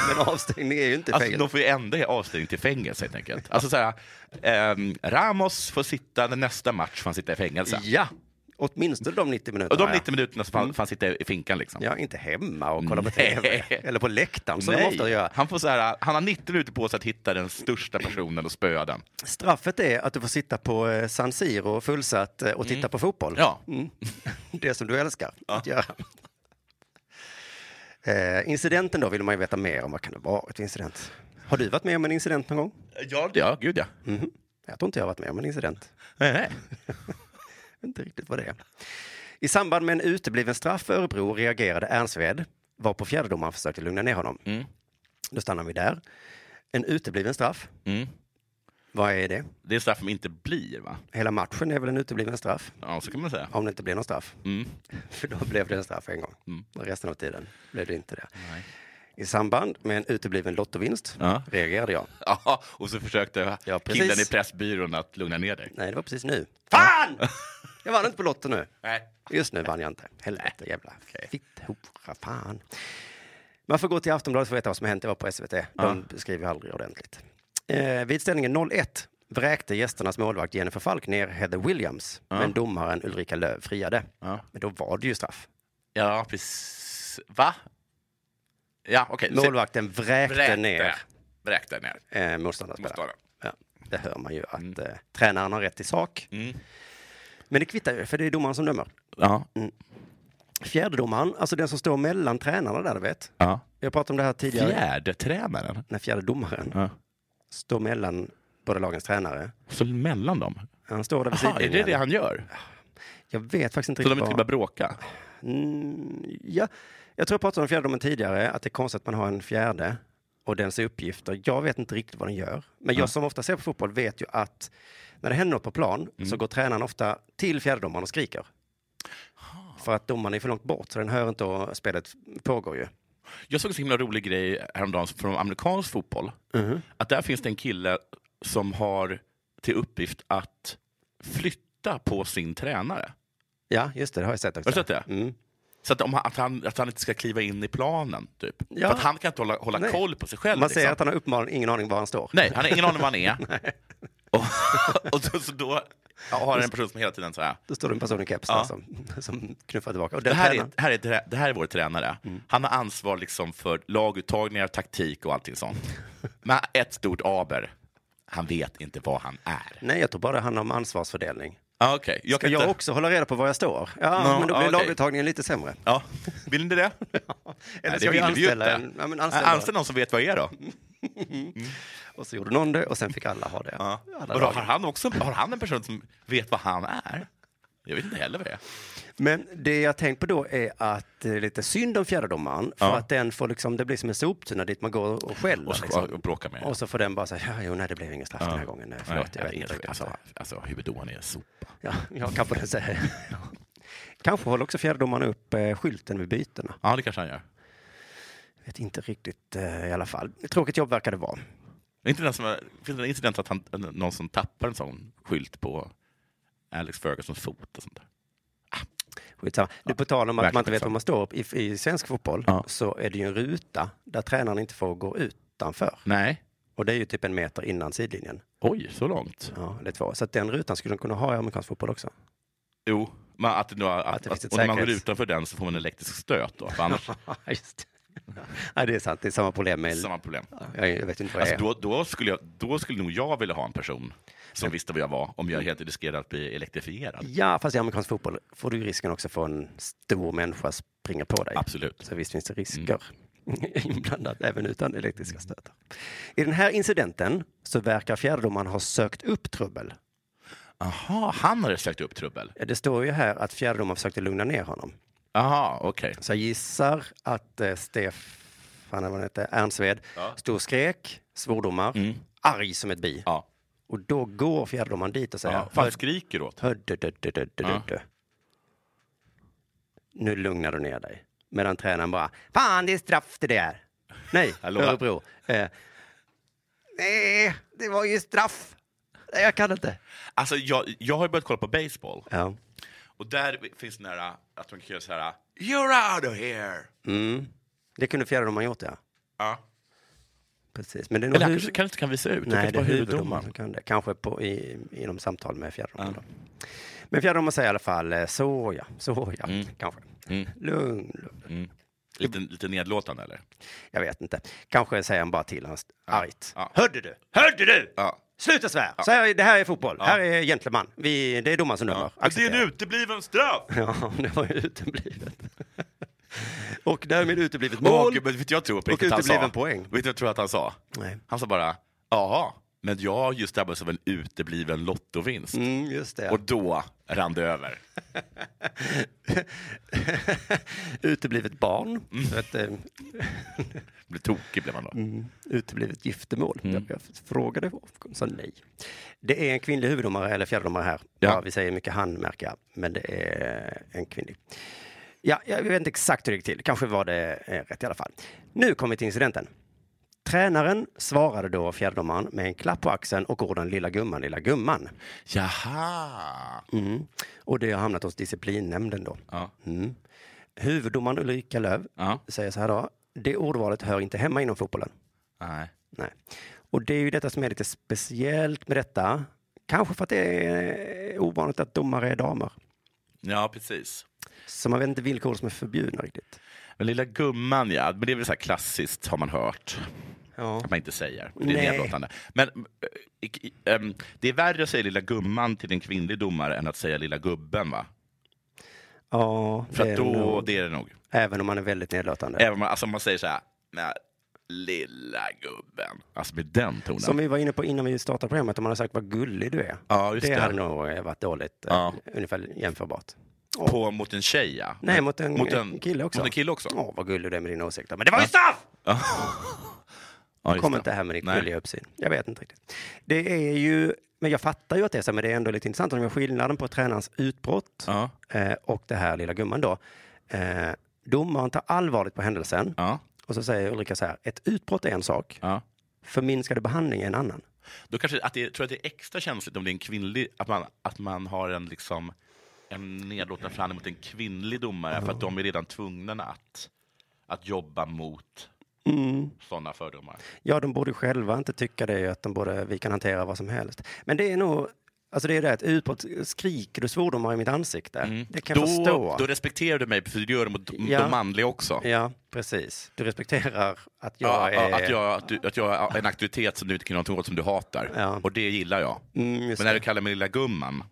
Men avstängning är ju inte
alltså,
fängelse.
de får ju ändra avstängning till fängelse helt enkelt. Alltså så här, ehm, Ramos får sitta, den nästa match får han sitta i fängelse.
Ja, åtminstone de 90 minuterna.
Och de
ja. Mm.
90 minuterna så får han- får han sitta i finkan liksom.
Ja, inte hemma och kolla på
Nej.
tv. Eller på läktaren som de ofta
Nej,
gör.
han, får så här, han har 90 minuter på sig att hitta den största personen och spöa den.
Straffet är att du får sitta på eh, San Siro fullsatt eh, och titta på fotboll.
Mm.
Mm.
Ja.
Det som du älskar att göra. Eh, incidenten då vill man ju veta mer om. Vad kan det vara ett incident? Har du varit med om en incident någon gång?
Ja, det- ja gud ja.
Jag tror inte jag har varit med om en incident.
Nej, nej.
Jag vet inte riktigt vad det är. I samband med en utebliven straff för Örebro reagerade Ernstved, var på fjärdedomaren försökte lugna ner honom.
Mm.
Då stannar vi där. En utebliven straff.
Mm.
Vad är det?
Det är straff som inte blir, va?
Hela matchen är väl en utebliven straff?
Ja, så kan man säga.
Om det inte blir någon straff.
Mm.
För då blev det en straff en gång.
Mm.
Och resten av tiden blev det inte det.
Nej.
I samband med en utebliven lottovinst
Ja.
reagerade jag.
Ja, och så försökte
Ja, precis.
killen i Pressbyrån att lugna ner dig.
Nej, det var precis nu. Fan! Jag vann inte på Lotto nu.
Nej.
Just nu vann jag inte. Helvete jävla fitthora, fan. Man får gå till Aftonbladet för att veta vad som hänt. Det var på SVT. De skriver aldrig ordentligt. Eh, vid ställningen 0-1 vräkte gästernas målvakt Jennifer Falk ner Heather Williams. Men domaren Ulrika Löv friade.
Ja.
Men då var det ju straff.
Ja, precis. Va? Ja, okej. Se-
Målvakten vräkte,
Vräkte.
ner
Vräkte ner.
eh, motståndarspelaren.
Motståndaren. Mm.
Ja, det hör man ju att eh, tränaren har rätt i sak. Men det kvittar ju, för det är domaren som dömer.
Ja.
Fjärdedomaren, alltså den som står mellan tränarna där, du vet.
ja.
Vi har pratat om det här tidigare.
Fjärde tränaren.
När fjärde domaren
Ja.
står mellan båda lagens tränare.
Så mellan dem?
Han står där vid
Aha, är det
sidlinjen.
det han gör?
Jag vet faktiskt inte
Så
riktigt
de inte bara
vad-
bråka?
Mm, ja. Jag tror jag pratade om fjärdedomen tidigare, att det är konstigt att man har en fjärde och dens uppgifter. Jag vet inte riktigt vad den gör. Men jag som ofta ser på fotboll vet ju att när det händer något på plan
Mm.
så går tränaren ofta till fjärdedomaren och skriker. För att domaren är för långt bort så den hör inte och spelet pågår ju.
Jag såg en så himla rolig grej häromdagen från amerikansk fotboll. Att där finns det en kille som har till uppgift att flytta på sin tränare.
Ja, just det, det har jag sett också.
Har du sett det?
Mm.
Så att, om han, att, han, att han inte ska kliva in i planen, typ.
Ja.
För att han kan inte hålla, hålla
Nej.
koll på sig själv.
Man ser
liksom.
att han har uppenbarligen ingen aning var han står.
Nej, han har ingen aning om vad han är. och och då, så då har han en person som hela tiden säger
Då står det en person i keps där
Ja.
som, som knuffar tillbaka. Och den
det här, är,
tränaren- Mm.
det, här är, trä- det här är vår tränare. Han har ansvar liksom för laguttagningar, taktik och allting sånt. Men ett stort aber. Han vet inte vad han är.
Nej, jag tror bara det handlar om ansvarsfördelning.
Ah, okay. jag
Ska
kan
jag
inte...
också hålla reda på var jag står? Ja,
Nå,
men då blir
ja, okej.
laguttagningen lite sämre.
Ja. Vill ni det?
Eller
Nej,
ska
det
vi
vill vi ju
anställa
inte.
en? Ja, men Mm.
Anställ,
anställa.
någon som vet vad jag är då.
Och så gjorde någon det och sen fick alla ha det.
Ja.
Alla
Och då
dagar.
har, han också, har han en person som vet vad han är? Jag vet inte heller vad det är.
Men det jag tänkt på då är att det är lite synd om fjärdedomaren. För
Ja.
att den får liksom, det blir som en soptunna dit man går och skäller.
Och, så, och
liksom.
bråka med
och så får den bara säga, ja, jo, nej, det blev ingen straff den här gången. Nej,
Nej,
förlåt, jag vet
vet
inte.
inte. Alltså, alltså huvuddomaren är en sopa.
Ja, ja, kanske den säger. kanske håller också fjärdedomaren upp eh, skylten vid bytena.
Ja, det kanske han gör.
Vet inte riktigt eh, i alla fall. Tråkigt jobb verkar det vara.
Inte den som, är- finns det en incident att han, någon som tappar en sån skylt på Alex Fergusons fot och sånt där?
Skitsamma. Du, på tal om att
verkligen
man inte vet
skitsamma.
var man står i, i svensk fotboll
Ja.
så är det ju en ruta där tränaren inte får gå utanför.
Nej.
Och det är ju typ en meter innan sidlinjen.
Oj, så långt?
Ja, eller två. Så att den rutan skulle de kunna ha i amerikansk fotboll också.
Jo, men att, det nu har- att,
Att det
att,
finns ett
och när man går
säkerhets-
utanför den så får man en elektrisk stöt då, för annars
Just ja, det är sant. Det är samma problem med...
samma problem.
Jag, jag vet inte vad
Alltså,
jag är.
då, då, skulle jag, då skulle nog jag vilja ha en person som visste vad jag var om jag helt riskerade att bli elektrifierad.
Ja, fast i amerikansk fotboll får du ju risken också för en stor människa springa på dig.
Absolut.
Så visst finns
Mm.
det risker inblandat, även utan elektriska stötar. I den här incidenten så verkar fjärdedomaren ha sökt upp trubbel. Eh,
Aha, han hade sökt upp trubbel.
Det står ju här att fjärdedomaren försökte lugna ner honom.
Aha, okej.
Så jag gissar att eh, Stefan, eller vad han heter, Ernstved, stod och skrek svordomar, arg som ett bi.
Mm. Ja.
Och då går fjärdedomaren dit och säger,
Ja. Fan, skriker åt.
hör, du, du, du, du, du,
Ja.
du. nu lugnar du ner dig. Medan tränaren bara, fan det är straff det där. Nej,
Jag lovar.
Örebro. Eh, nej, det var ju straff. Nej, jag kan inte.
Alltså, jag, jag har ju börjat kolla på baseball.
Ja.
Och där finns den här att de kan göra så här You're out of here!
Mm. Det kunde fjärdedomaren gjort, ja.
Ja.
Precis. Men det är nog
Eller han
hur-
kanske, kanske inte kan visa ut,
Nej,
kanske
det är
bara
huvuddomaren som kan det. Kanske på, i, i de samtal med fjärdedomaren. då. Men fjärdedomaren säger i alla fall eh, så ja, så ja,
Mm.
kanske. Lugn, lugn.
Lite, lite nedlåtande eller?
Jag vet inte. Kanske säger han bara till honom argt.
Ja.
Hörde du?
Hörde du! Ja.
Sluta svär! Så här, det här är fotboll. Här är gentleman. Vi, det är domaren som dömer.
Ja. Men Det är en utebliven straff!
Ja, det var ju uteblivet. Och därmed uteblivet
Åh,
mål.
gud, men vet du, jag tror på
Och
riktigt han sa?
utebliven poäng.
Vet du vad jag tror att han sa?
Nej.
Han sa bara, jaha, men jag har just drabbats av en utebliven lottovinst.
Mm, just det.
Och då rann det över.
uteblivet barn.
Mm.
Så att, eh,
Blev tokig blev han då.
Mm. uteblivet giftermål.
Mm.
Jag, jag frågade och hon sa nej. Det är en kvinnlig huvuddomare, eller fjärdedomare här. Ja.
Ja.
vi säger mycket han märker jag, men det är en kvinnlig. Ja, jag vet inte exakt hur det gick till. Kanske var det eh, rätt i alla fall. Nu kommer vi till incidenten. Tränaren svarade då fjärdedomaren med en klapp på axeln och orden lilla gumman, lilla gumman.
Jaha!
Mm. Och det har hamnat hos disciplinnämnden då.
Ja.
Mm. Huvuddomaren Ulrika Löv
Ja.
säger så här då. det ordvalet hör inte hemma inom fotbollen.
Nej.
Nej. Och det är ju detta som är lite speciellt med detta. Kanske för att det är ovanligt att domare är damer.
Ja, precis.
Så man vet inte vilka ord som är förbjudna riktigt.
Men lilla gumman, ja. Men det är väl så här klassiskt, har man hört.
Ja.
Att man inte säger. Det är
Nej.
nedlåtande. Men eh, i- i- ehm, det är värre att säga lilla gumman till en kvinnlig domare än att säga lilla gubben, va?
Ja, det
För
är
att då,
nog-
det är det nog.
Även om man är väldigt nedlåtande.
Även om man, alltså om man säger så här, "Nej, lilla gubben. Alltså med den tonen.
Som vi var inne på innan vi startade programmet, om man har sagt vad gullig du är.
Ja, just
det
det.
hade nog eh, varit dåligt. eh,
Ja.
Ungefär jämförbart.
På, mot en tjej, ja.
Nej, mot en,
mot en
kille också.
mot en kille också.
Åh, vad gullig du är med dina åsikter. Men det var ju straff!
Ja, just
Kom
det.
inte här med ditt
Nej.
gulliga uppsyn. Jag vet inte riktigt. Det är ju, men jag fattar ju att det är så, men det är ändå lite intressant. Om jag skillnaden på tränarens utbrott
Ja,
eh, och det här lilla gumman då. Eh, domaren tar allvarligt på händelsen
ja,
och så säger Ulrika så här, ett utbrott är en sak,
ja.
förminskade behandling är en annan.
Då kanske att det, tror jag att det är extra känsligt om det är en kvinnlig, att man, att man har en liksom en nedlåtande förhandling mot en kvinnlig domare för att de är redan tvungna att, att jobba mot sådana fördomar.
Ja, de borde själva inte tycka det, att de borde, vi kan hantera vad som helst. Men det är nog, alltså det är det, ett utbrott, skriker du svordomar i mitt ansikte? Det kan
Mm. Då,
jag förstå.
då respekterar du mig, för du gör det mot de-
Ja.
de manliga också.
Ja, precis. Du respekterar att jag
Ja,
är...
ja, att, jag, att, du, att jag är en aktivitet som du inte kan göra någonting åt, som du hatar.
Ja.
Och det gillar jag.
Mm, just
Men när
det.
du kallar mig lilla gumman,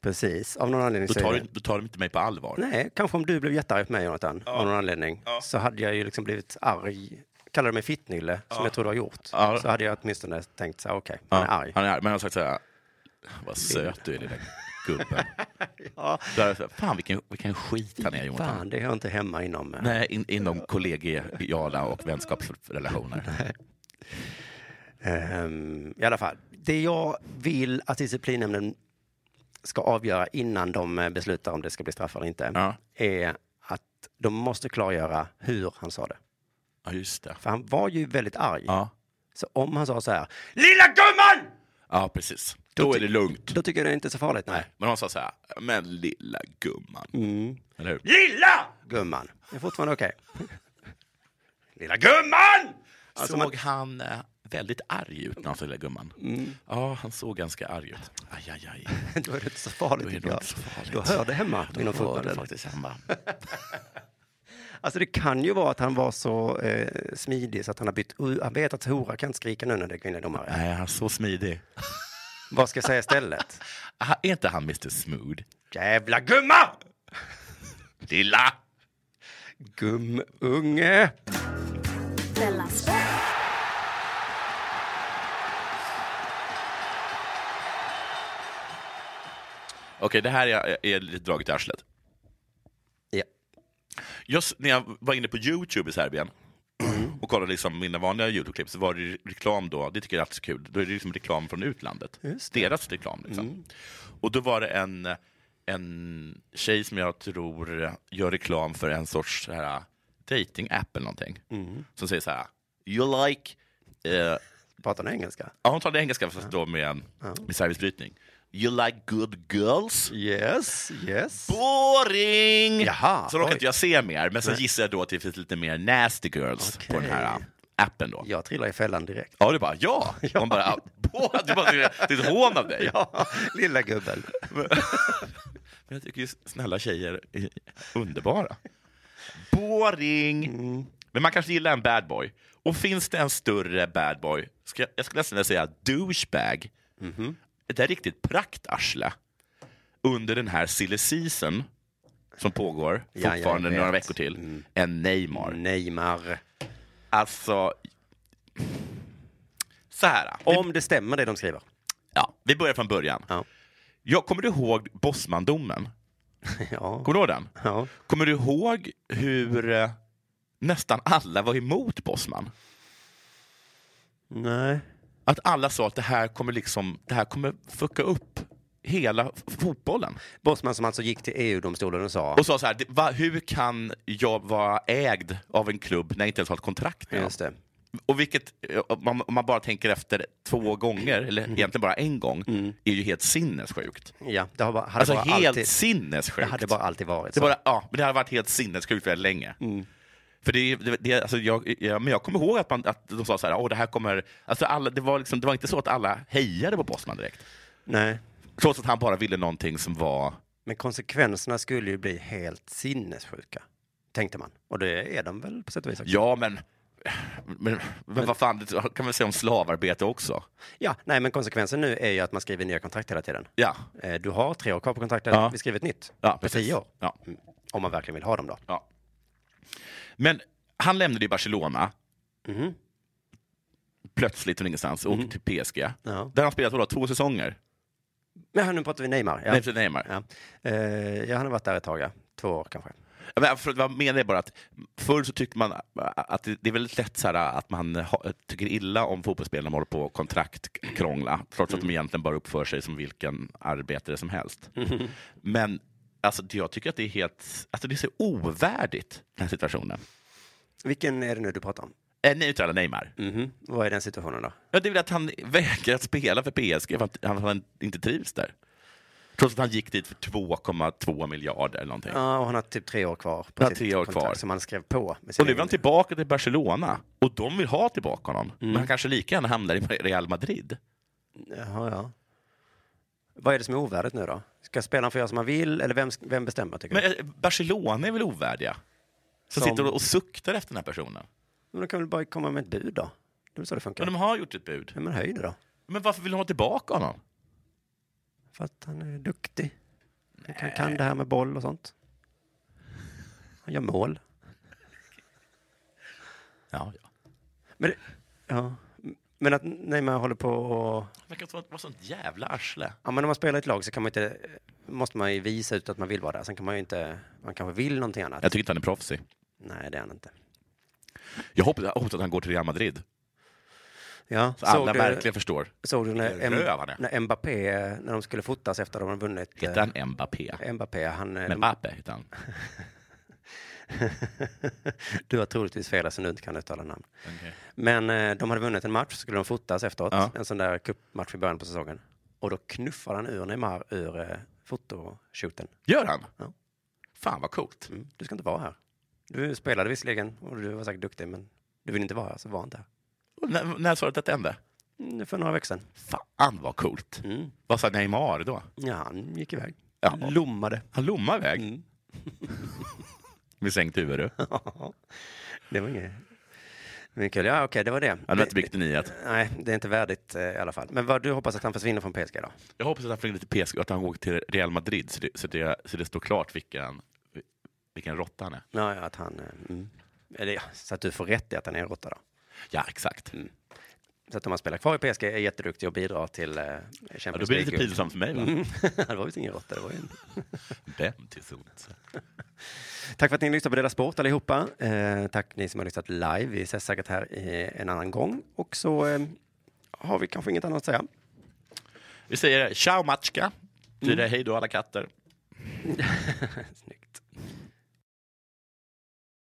Precis, av någon anledning
då
så är
tar, du,
det-
då tar de inte mig på allvar.
Nej, kanske om du blev jättearg på mig Jonathan, av någon anledning, så hade jag ju liksom blivit arg. Kallar du mig fittnylle, som jag tror du har gjort,
Ja.
så hade jag åtminstone tänkt så här, okej,
Ja,
han är arg.
Han är arg. Men han har sagt så här, vad söt du är lilla gubben.
Ja.
Då har jag sagt, Fan vilken, vilken skit han är Jonathan.
Fan, det hör inte hemma inom... eh,
Nej, in, inom kollegiala och vänskapsrelationer.
Ehm, I alla fall, det jag vill att disciplinnämnden ska avgöra innan de eh, beslutar om det ska bli straff eller inte,
Ja.
är att de måste klargöra hur han sa det.
Ja, just det.
För han var ju väldigt arg.
Ja,
Så om han sa så här,
ja precis. Då är det lugnt.
då tycker jag det är inte så farligt. Nej,
Men hon sa så här, men lilla gumman.
Mm.
Eller hur?
gumman. Det är fortfarande okej.
Lilla gumman!
Alltså,
såg han eh, väldigt arg ut när han sa lilla gumman? Ja, han såg ganska arg ut. Aj, aj, aj.
Då är det inte så
Då
farligt.
är det
tycker jag.
inte så farligt.
Då hör det hemma inom
Då var det
fotbollen.
faktiskt hemma.
Alltså det kan ju vara att han var så eh, smidig så att han har bytt, uh, han vet att hora kan inte skrika nu när det är kvinnliga domare.
Nej, han är så smidig.
Vad ska jag säga istället?
Ah, Är inte han Mr Smooth?
Jävla gumma!
Lilla!
Gumunge!
Della Sport.
Okej, det här är, är lite draget i arslet.
Ja.
Just när jag var inne på Youtube i Serbien och kollade liksom mina vanliga Youtube-klipp så var det ju reklam då, det tycker jag är alltid så kul, då är det liksom reklam från utlandet. Deras reklam. Liksom. Och då var det en, en tjej som jag tror gör reklam för en sorts så här, dating-app eller någonting. Som säger så här, you like eh,
Pratar han engelska?
Ja, hon talade engelska fast då med, en- med servicebrytning. You like good girls?
Yes, yes.
Boring!
Jaha,
så råkade
oj.
inte jag se mer, men sen gissar jag då att det finns lite mer nasty girls på den här äh, appen då. Ja,
Jag trillar i fällan direkt.
du bara ja! Hon bara, ah, bo- du bara, det är ett hån av dig.
Ja, lilla gubben.
Men jag tycker ju snälla tjejer är underbara. Mm. Boring! Men man kanske gillar en bad boy. Och finns det en större bad boy, ska jag, jag skulle nästan vilja säga douchebag, Mhm. ett där riktigt praktarsle, under den här silly season som pågår
jag
fortfarande några
vet.
veckor till, än Neymar.
Neymar.
Alltså, så här. vi-
Om det stämmer det de skriver.
ja, vi börjar från början.
Ja.
Jag kommer du ihåg Bosmandomen?
Ja.
Kommer du ihåg den?
ja.
Kommer du ihåg hur eh, nästan alla var emot Bosman?
Nej.
Att alla sa att det här kommer liksom, det här kommer fucka upp hela f- fotbollen.
Bosman som alltså gick till EU-domstolen och sa...
Och sa så här, "Det- va, hur kan jag vara ägd av en klubb när jag inte ens har ett kontrakt med dem?
Just det.
Och vilket, eh, om man, om man bara tänker efter två gånger, eller
Mm.
egentligen bara en gång, är ju helt sinnessjukt.
Ja, det Mm. har bara, hade
Alltså
bara
helt
alltid,
sinnessjukt.
Det hade bara alltid varit
Det,
så. Mm.
bara, ja, men det hade varit helt sinnessjukt väldigt länge. För det, det, det, alltså jag, jag, men jag kommer ihåg att, man, att de sa så här, Åh, det här kommer... Alltså alla, det, var liksom, det var inte så att alla hejade på Bosman direkt.
Nej.
Trots att han bara ville någonting som var...
Men konsekvenserna skulle ju bli helt sinnessjuka, tänkte man. Och det är de väl på sätt och vis också.
Ja, men... Men, men vad fan, det kan man säga om slavarbete också?
Ja, nej, men konsekvensen nu är ju att man skriver nya kontrakt hela tiden.
Ja.
Eh, Du har tre år kvar på kontraktet,
Ja.
vi skriver ett nytt.
Ja,
på
precis.
tio år.
Ja.
Mm. Om man verkligen vill ha dem då.
ja. Men han lämnade ju Barcelona Mm-hmm.
Mhm.
plötsligt från ingenstans
Mm.
och åkte till PSG.
Ja.
Där han spelat vadå, två säsonger?
Men här, nu pratar vi Neymar. Ja.
Nej, för Neymar.
Ja. Eh, ja, han har varit där ett tag, ja. två år kanske.
Ja, Men för, vad jag menar är bara att förr så tyckte man äh, att det, det är väldigt lätt så här äh, att man ha, tycker illa om fotbollsspelare när de håller på och kontraktkrångla, trots att de egentligen bara uppför sig som vilken arbetare som helst. Men alltså, det- jag tycker att det är helt, alltså det är så ovärdigt, den här situationen.
Vilken är det nu du pratar om?
Äh, neutrala Neymar.
Mhm. Vad är den situationen då?
Ja, det är väl att han vägrar att spela för PSG för att han, han inte trivs där. Trots att han gick dit för 2,2 miljarder eller någonting.
Ja, och han har typ tre år kvar på
Han har
sitt
tre år
kontrakt
kvar.
som han skrev på. Med sin
Och nu är
egen-
han tillbaka till Barcelona och de vill ha tillbaka honom. Men han kanske lika gärna hamnar i Real Madrid.
Jaha, ja. Vad är det som är ovärdigt nu då? Ska spelaren få göra som han vill, eller vem, vem bestämmer tycker
Men
du?
eh, Barcelona är väl ovärdiga? Som,
Som-
sitter och- och suktar efter den här personen.
Men de kan väl bara komma med ett bud då? Det är väl så det funkar?
Men de har gjort ett bud.
Ja, men höj det då.
Men varför vill de ha tillbaka honom?
För att han är duktig. Han kan, kan det här med boll och sånt. Han gör mål.
Ja, ja.
Men, det, ja. men att Neymar håller på och...
Han verkar vara vara sånt jävla arsle.
Ja, men när man spelar i ett lag så kan man inte, måste man ju visa ut att man vill vara där. Sen kan man ju inte... Man kanske vill någonting annat.
Jag tycker inte han är proffsig.
Nej, det är han inte.
Jag hoppas, jag hoppas att han går till Real Madrid.
Ja,
Så alla
du-
verkligen förstår.
Såg du när,
Vilken
M-
röv han är.
när Mbappé, eh, när de skulle fotas efter att de hade vunnit?
Heter han Mbappé?
eh, Mbappé, han... eh,
Mbappé heter han.
du har troligtvis fel eftersom du inte kan uttala namn. Men eh, de hade vunnit en match, så skulle de fotas efteråt.
Ja.
En sån där cupmatch i början på säsongen. Och då knuffar han ur Neymar ur eh, fotoshooten.
Gör han?
Ja.
Fan vad coolt.
Mm. Du ska inte vara här. Du spelade visserligen och du var säkert duktig, men du vill inte vara här, så var inte här.
Och När, när sa du att detta hände?
Mm, för några veckor sedan.
Fan vad coolt.
Mm.
Vad sa Neymar då?
Ja, han gick iväg.
Ja.
Lommade.
Han lommade iväg
Mm.
med sänkt huvud. du.
det var inget... Men kul. Ja, okej, det var det.
Han hade
Det-
inte byggt en nyhet.
Nej, det är inte värdigt eh, i alla fall. Men vad du hoppas att han försvinner från PSG då?
Jag hoppas att han får in lite PSG och att han åker till Real Madrid så det, så det, så det står klart vilken, vilken råtta han är.
Ja, ja, att han... eh, Mm. Eller ja, så att du får rätt i att han är en råtta då.
Ja, exakt.
Så att om han spelar kvar i PSG är jätteduktig och bidrar till eh, Champions
Ja, då blir det lite
League. Mm.
pinsamt för mig. Va?
det var visst ingen råtta, det var ju en...
Vem till sot?
Tack för att ni lyssnade på Dela Sport allihopa. Eh, tack ni som har lyssnat live. Vi ses säkert här eh, en annan gång. Och så eh, har vi kanske inget annat att säga.
Mm. Vi säger ciao matchka. Betyder hej då alla katter.
Snyggt.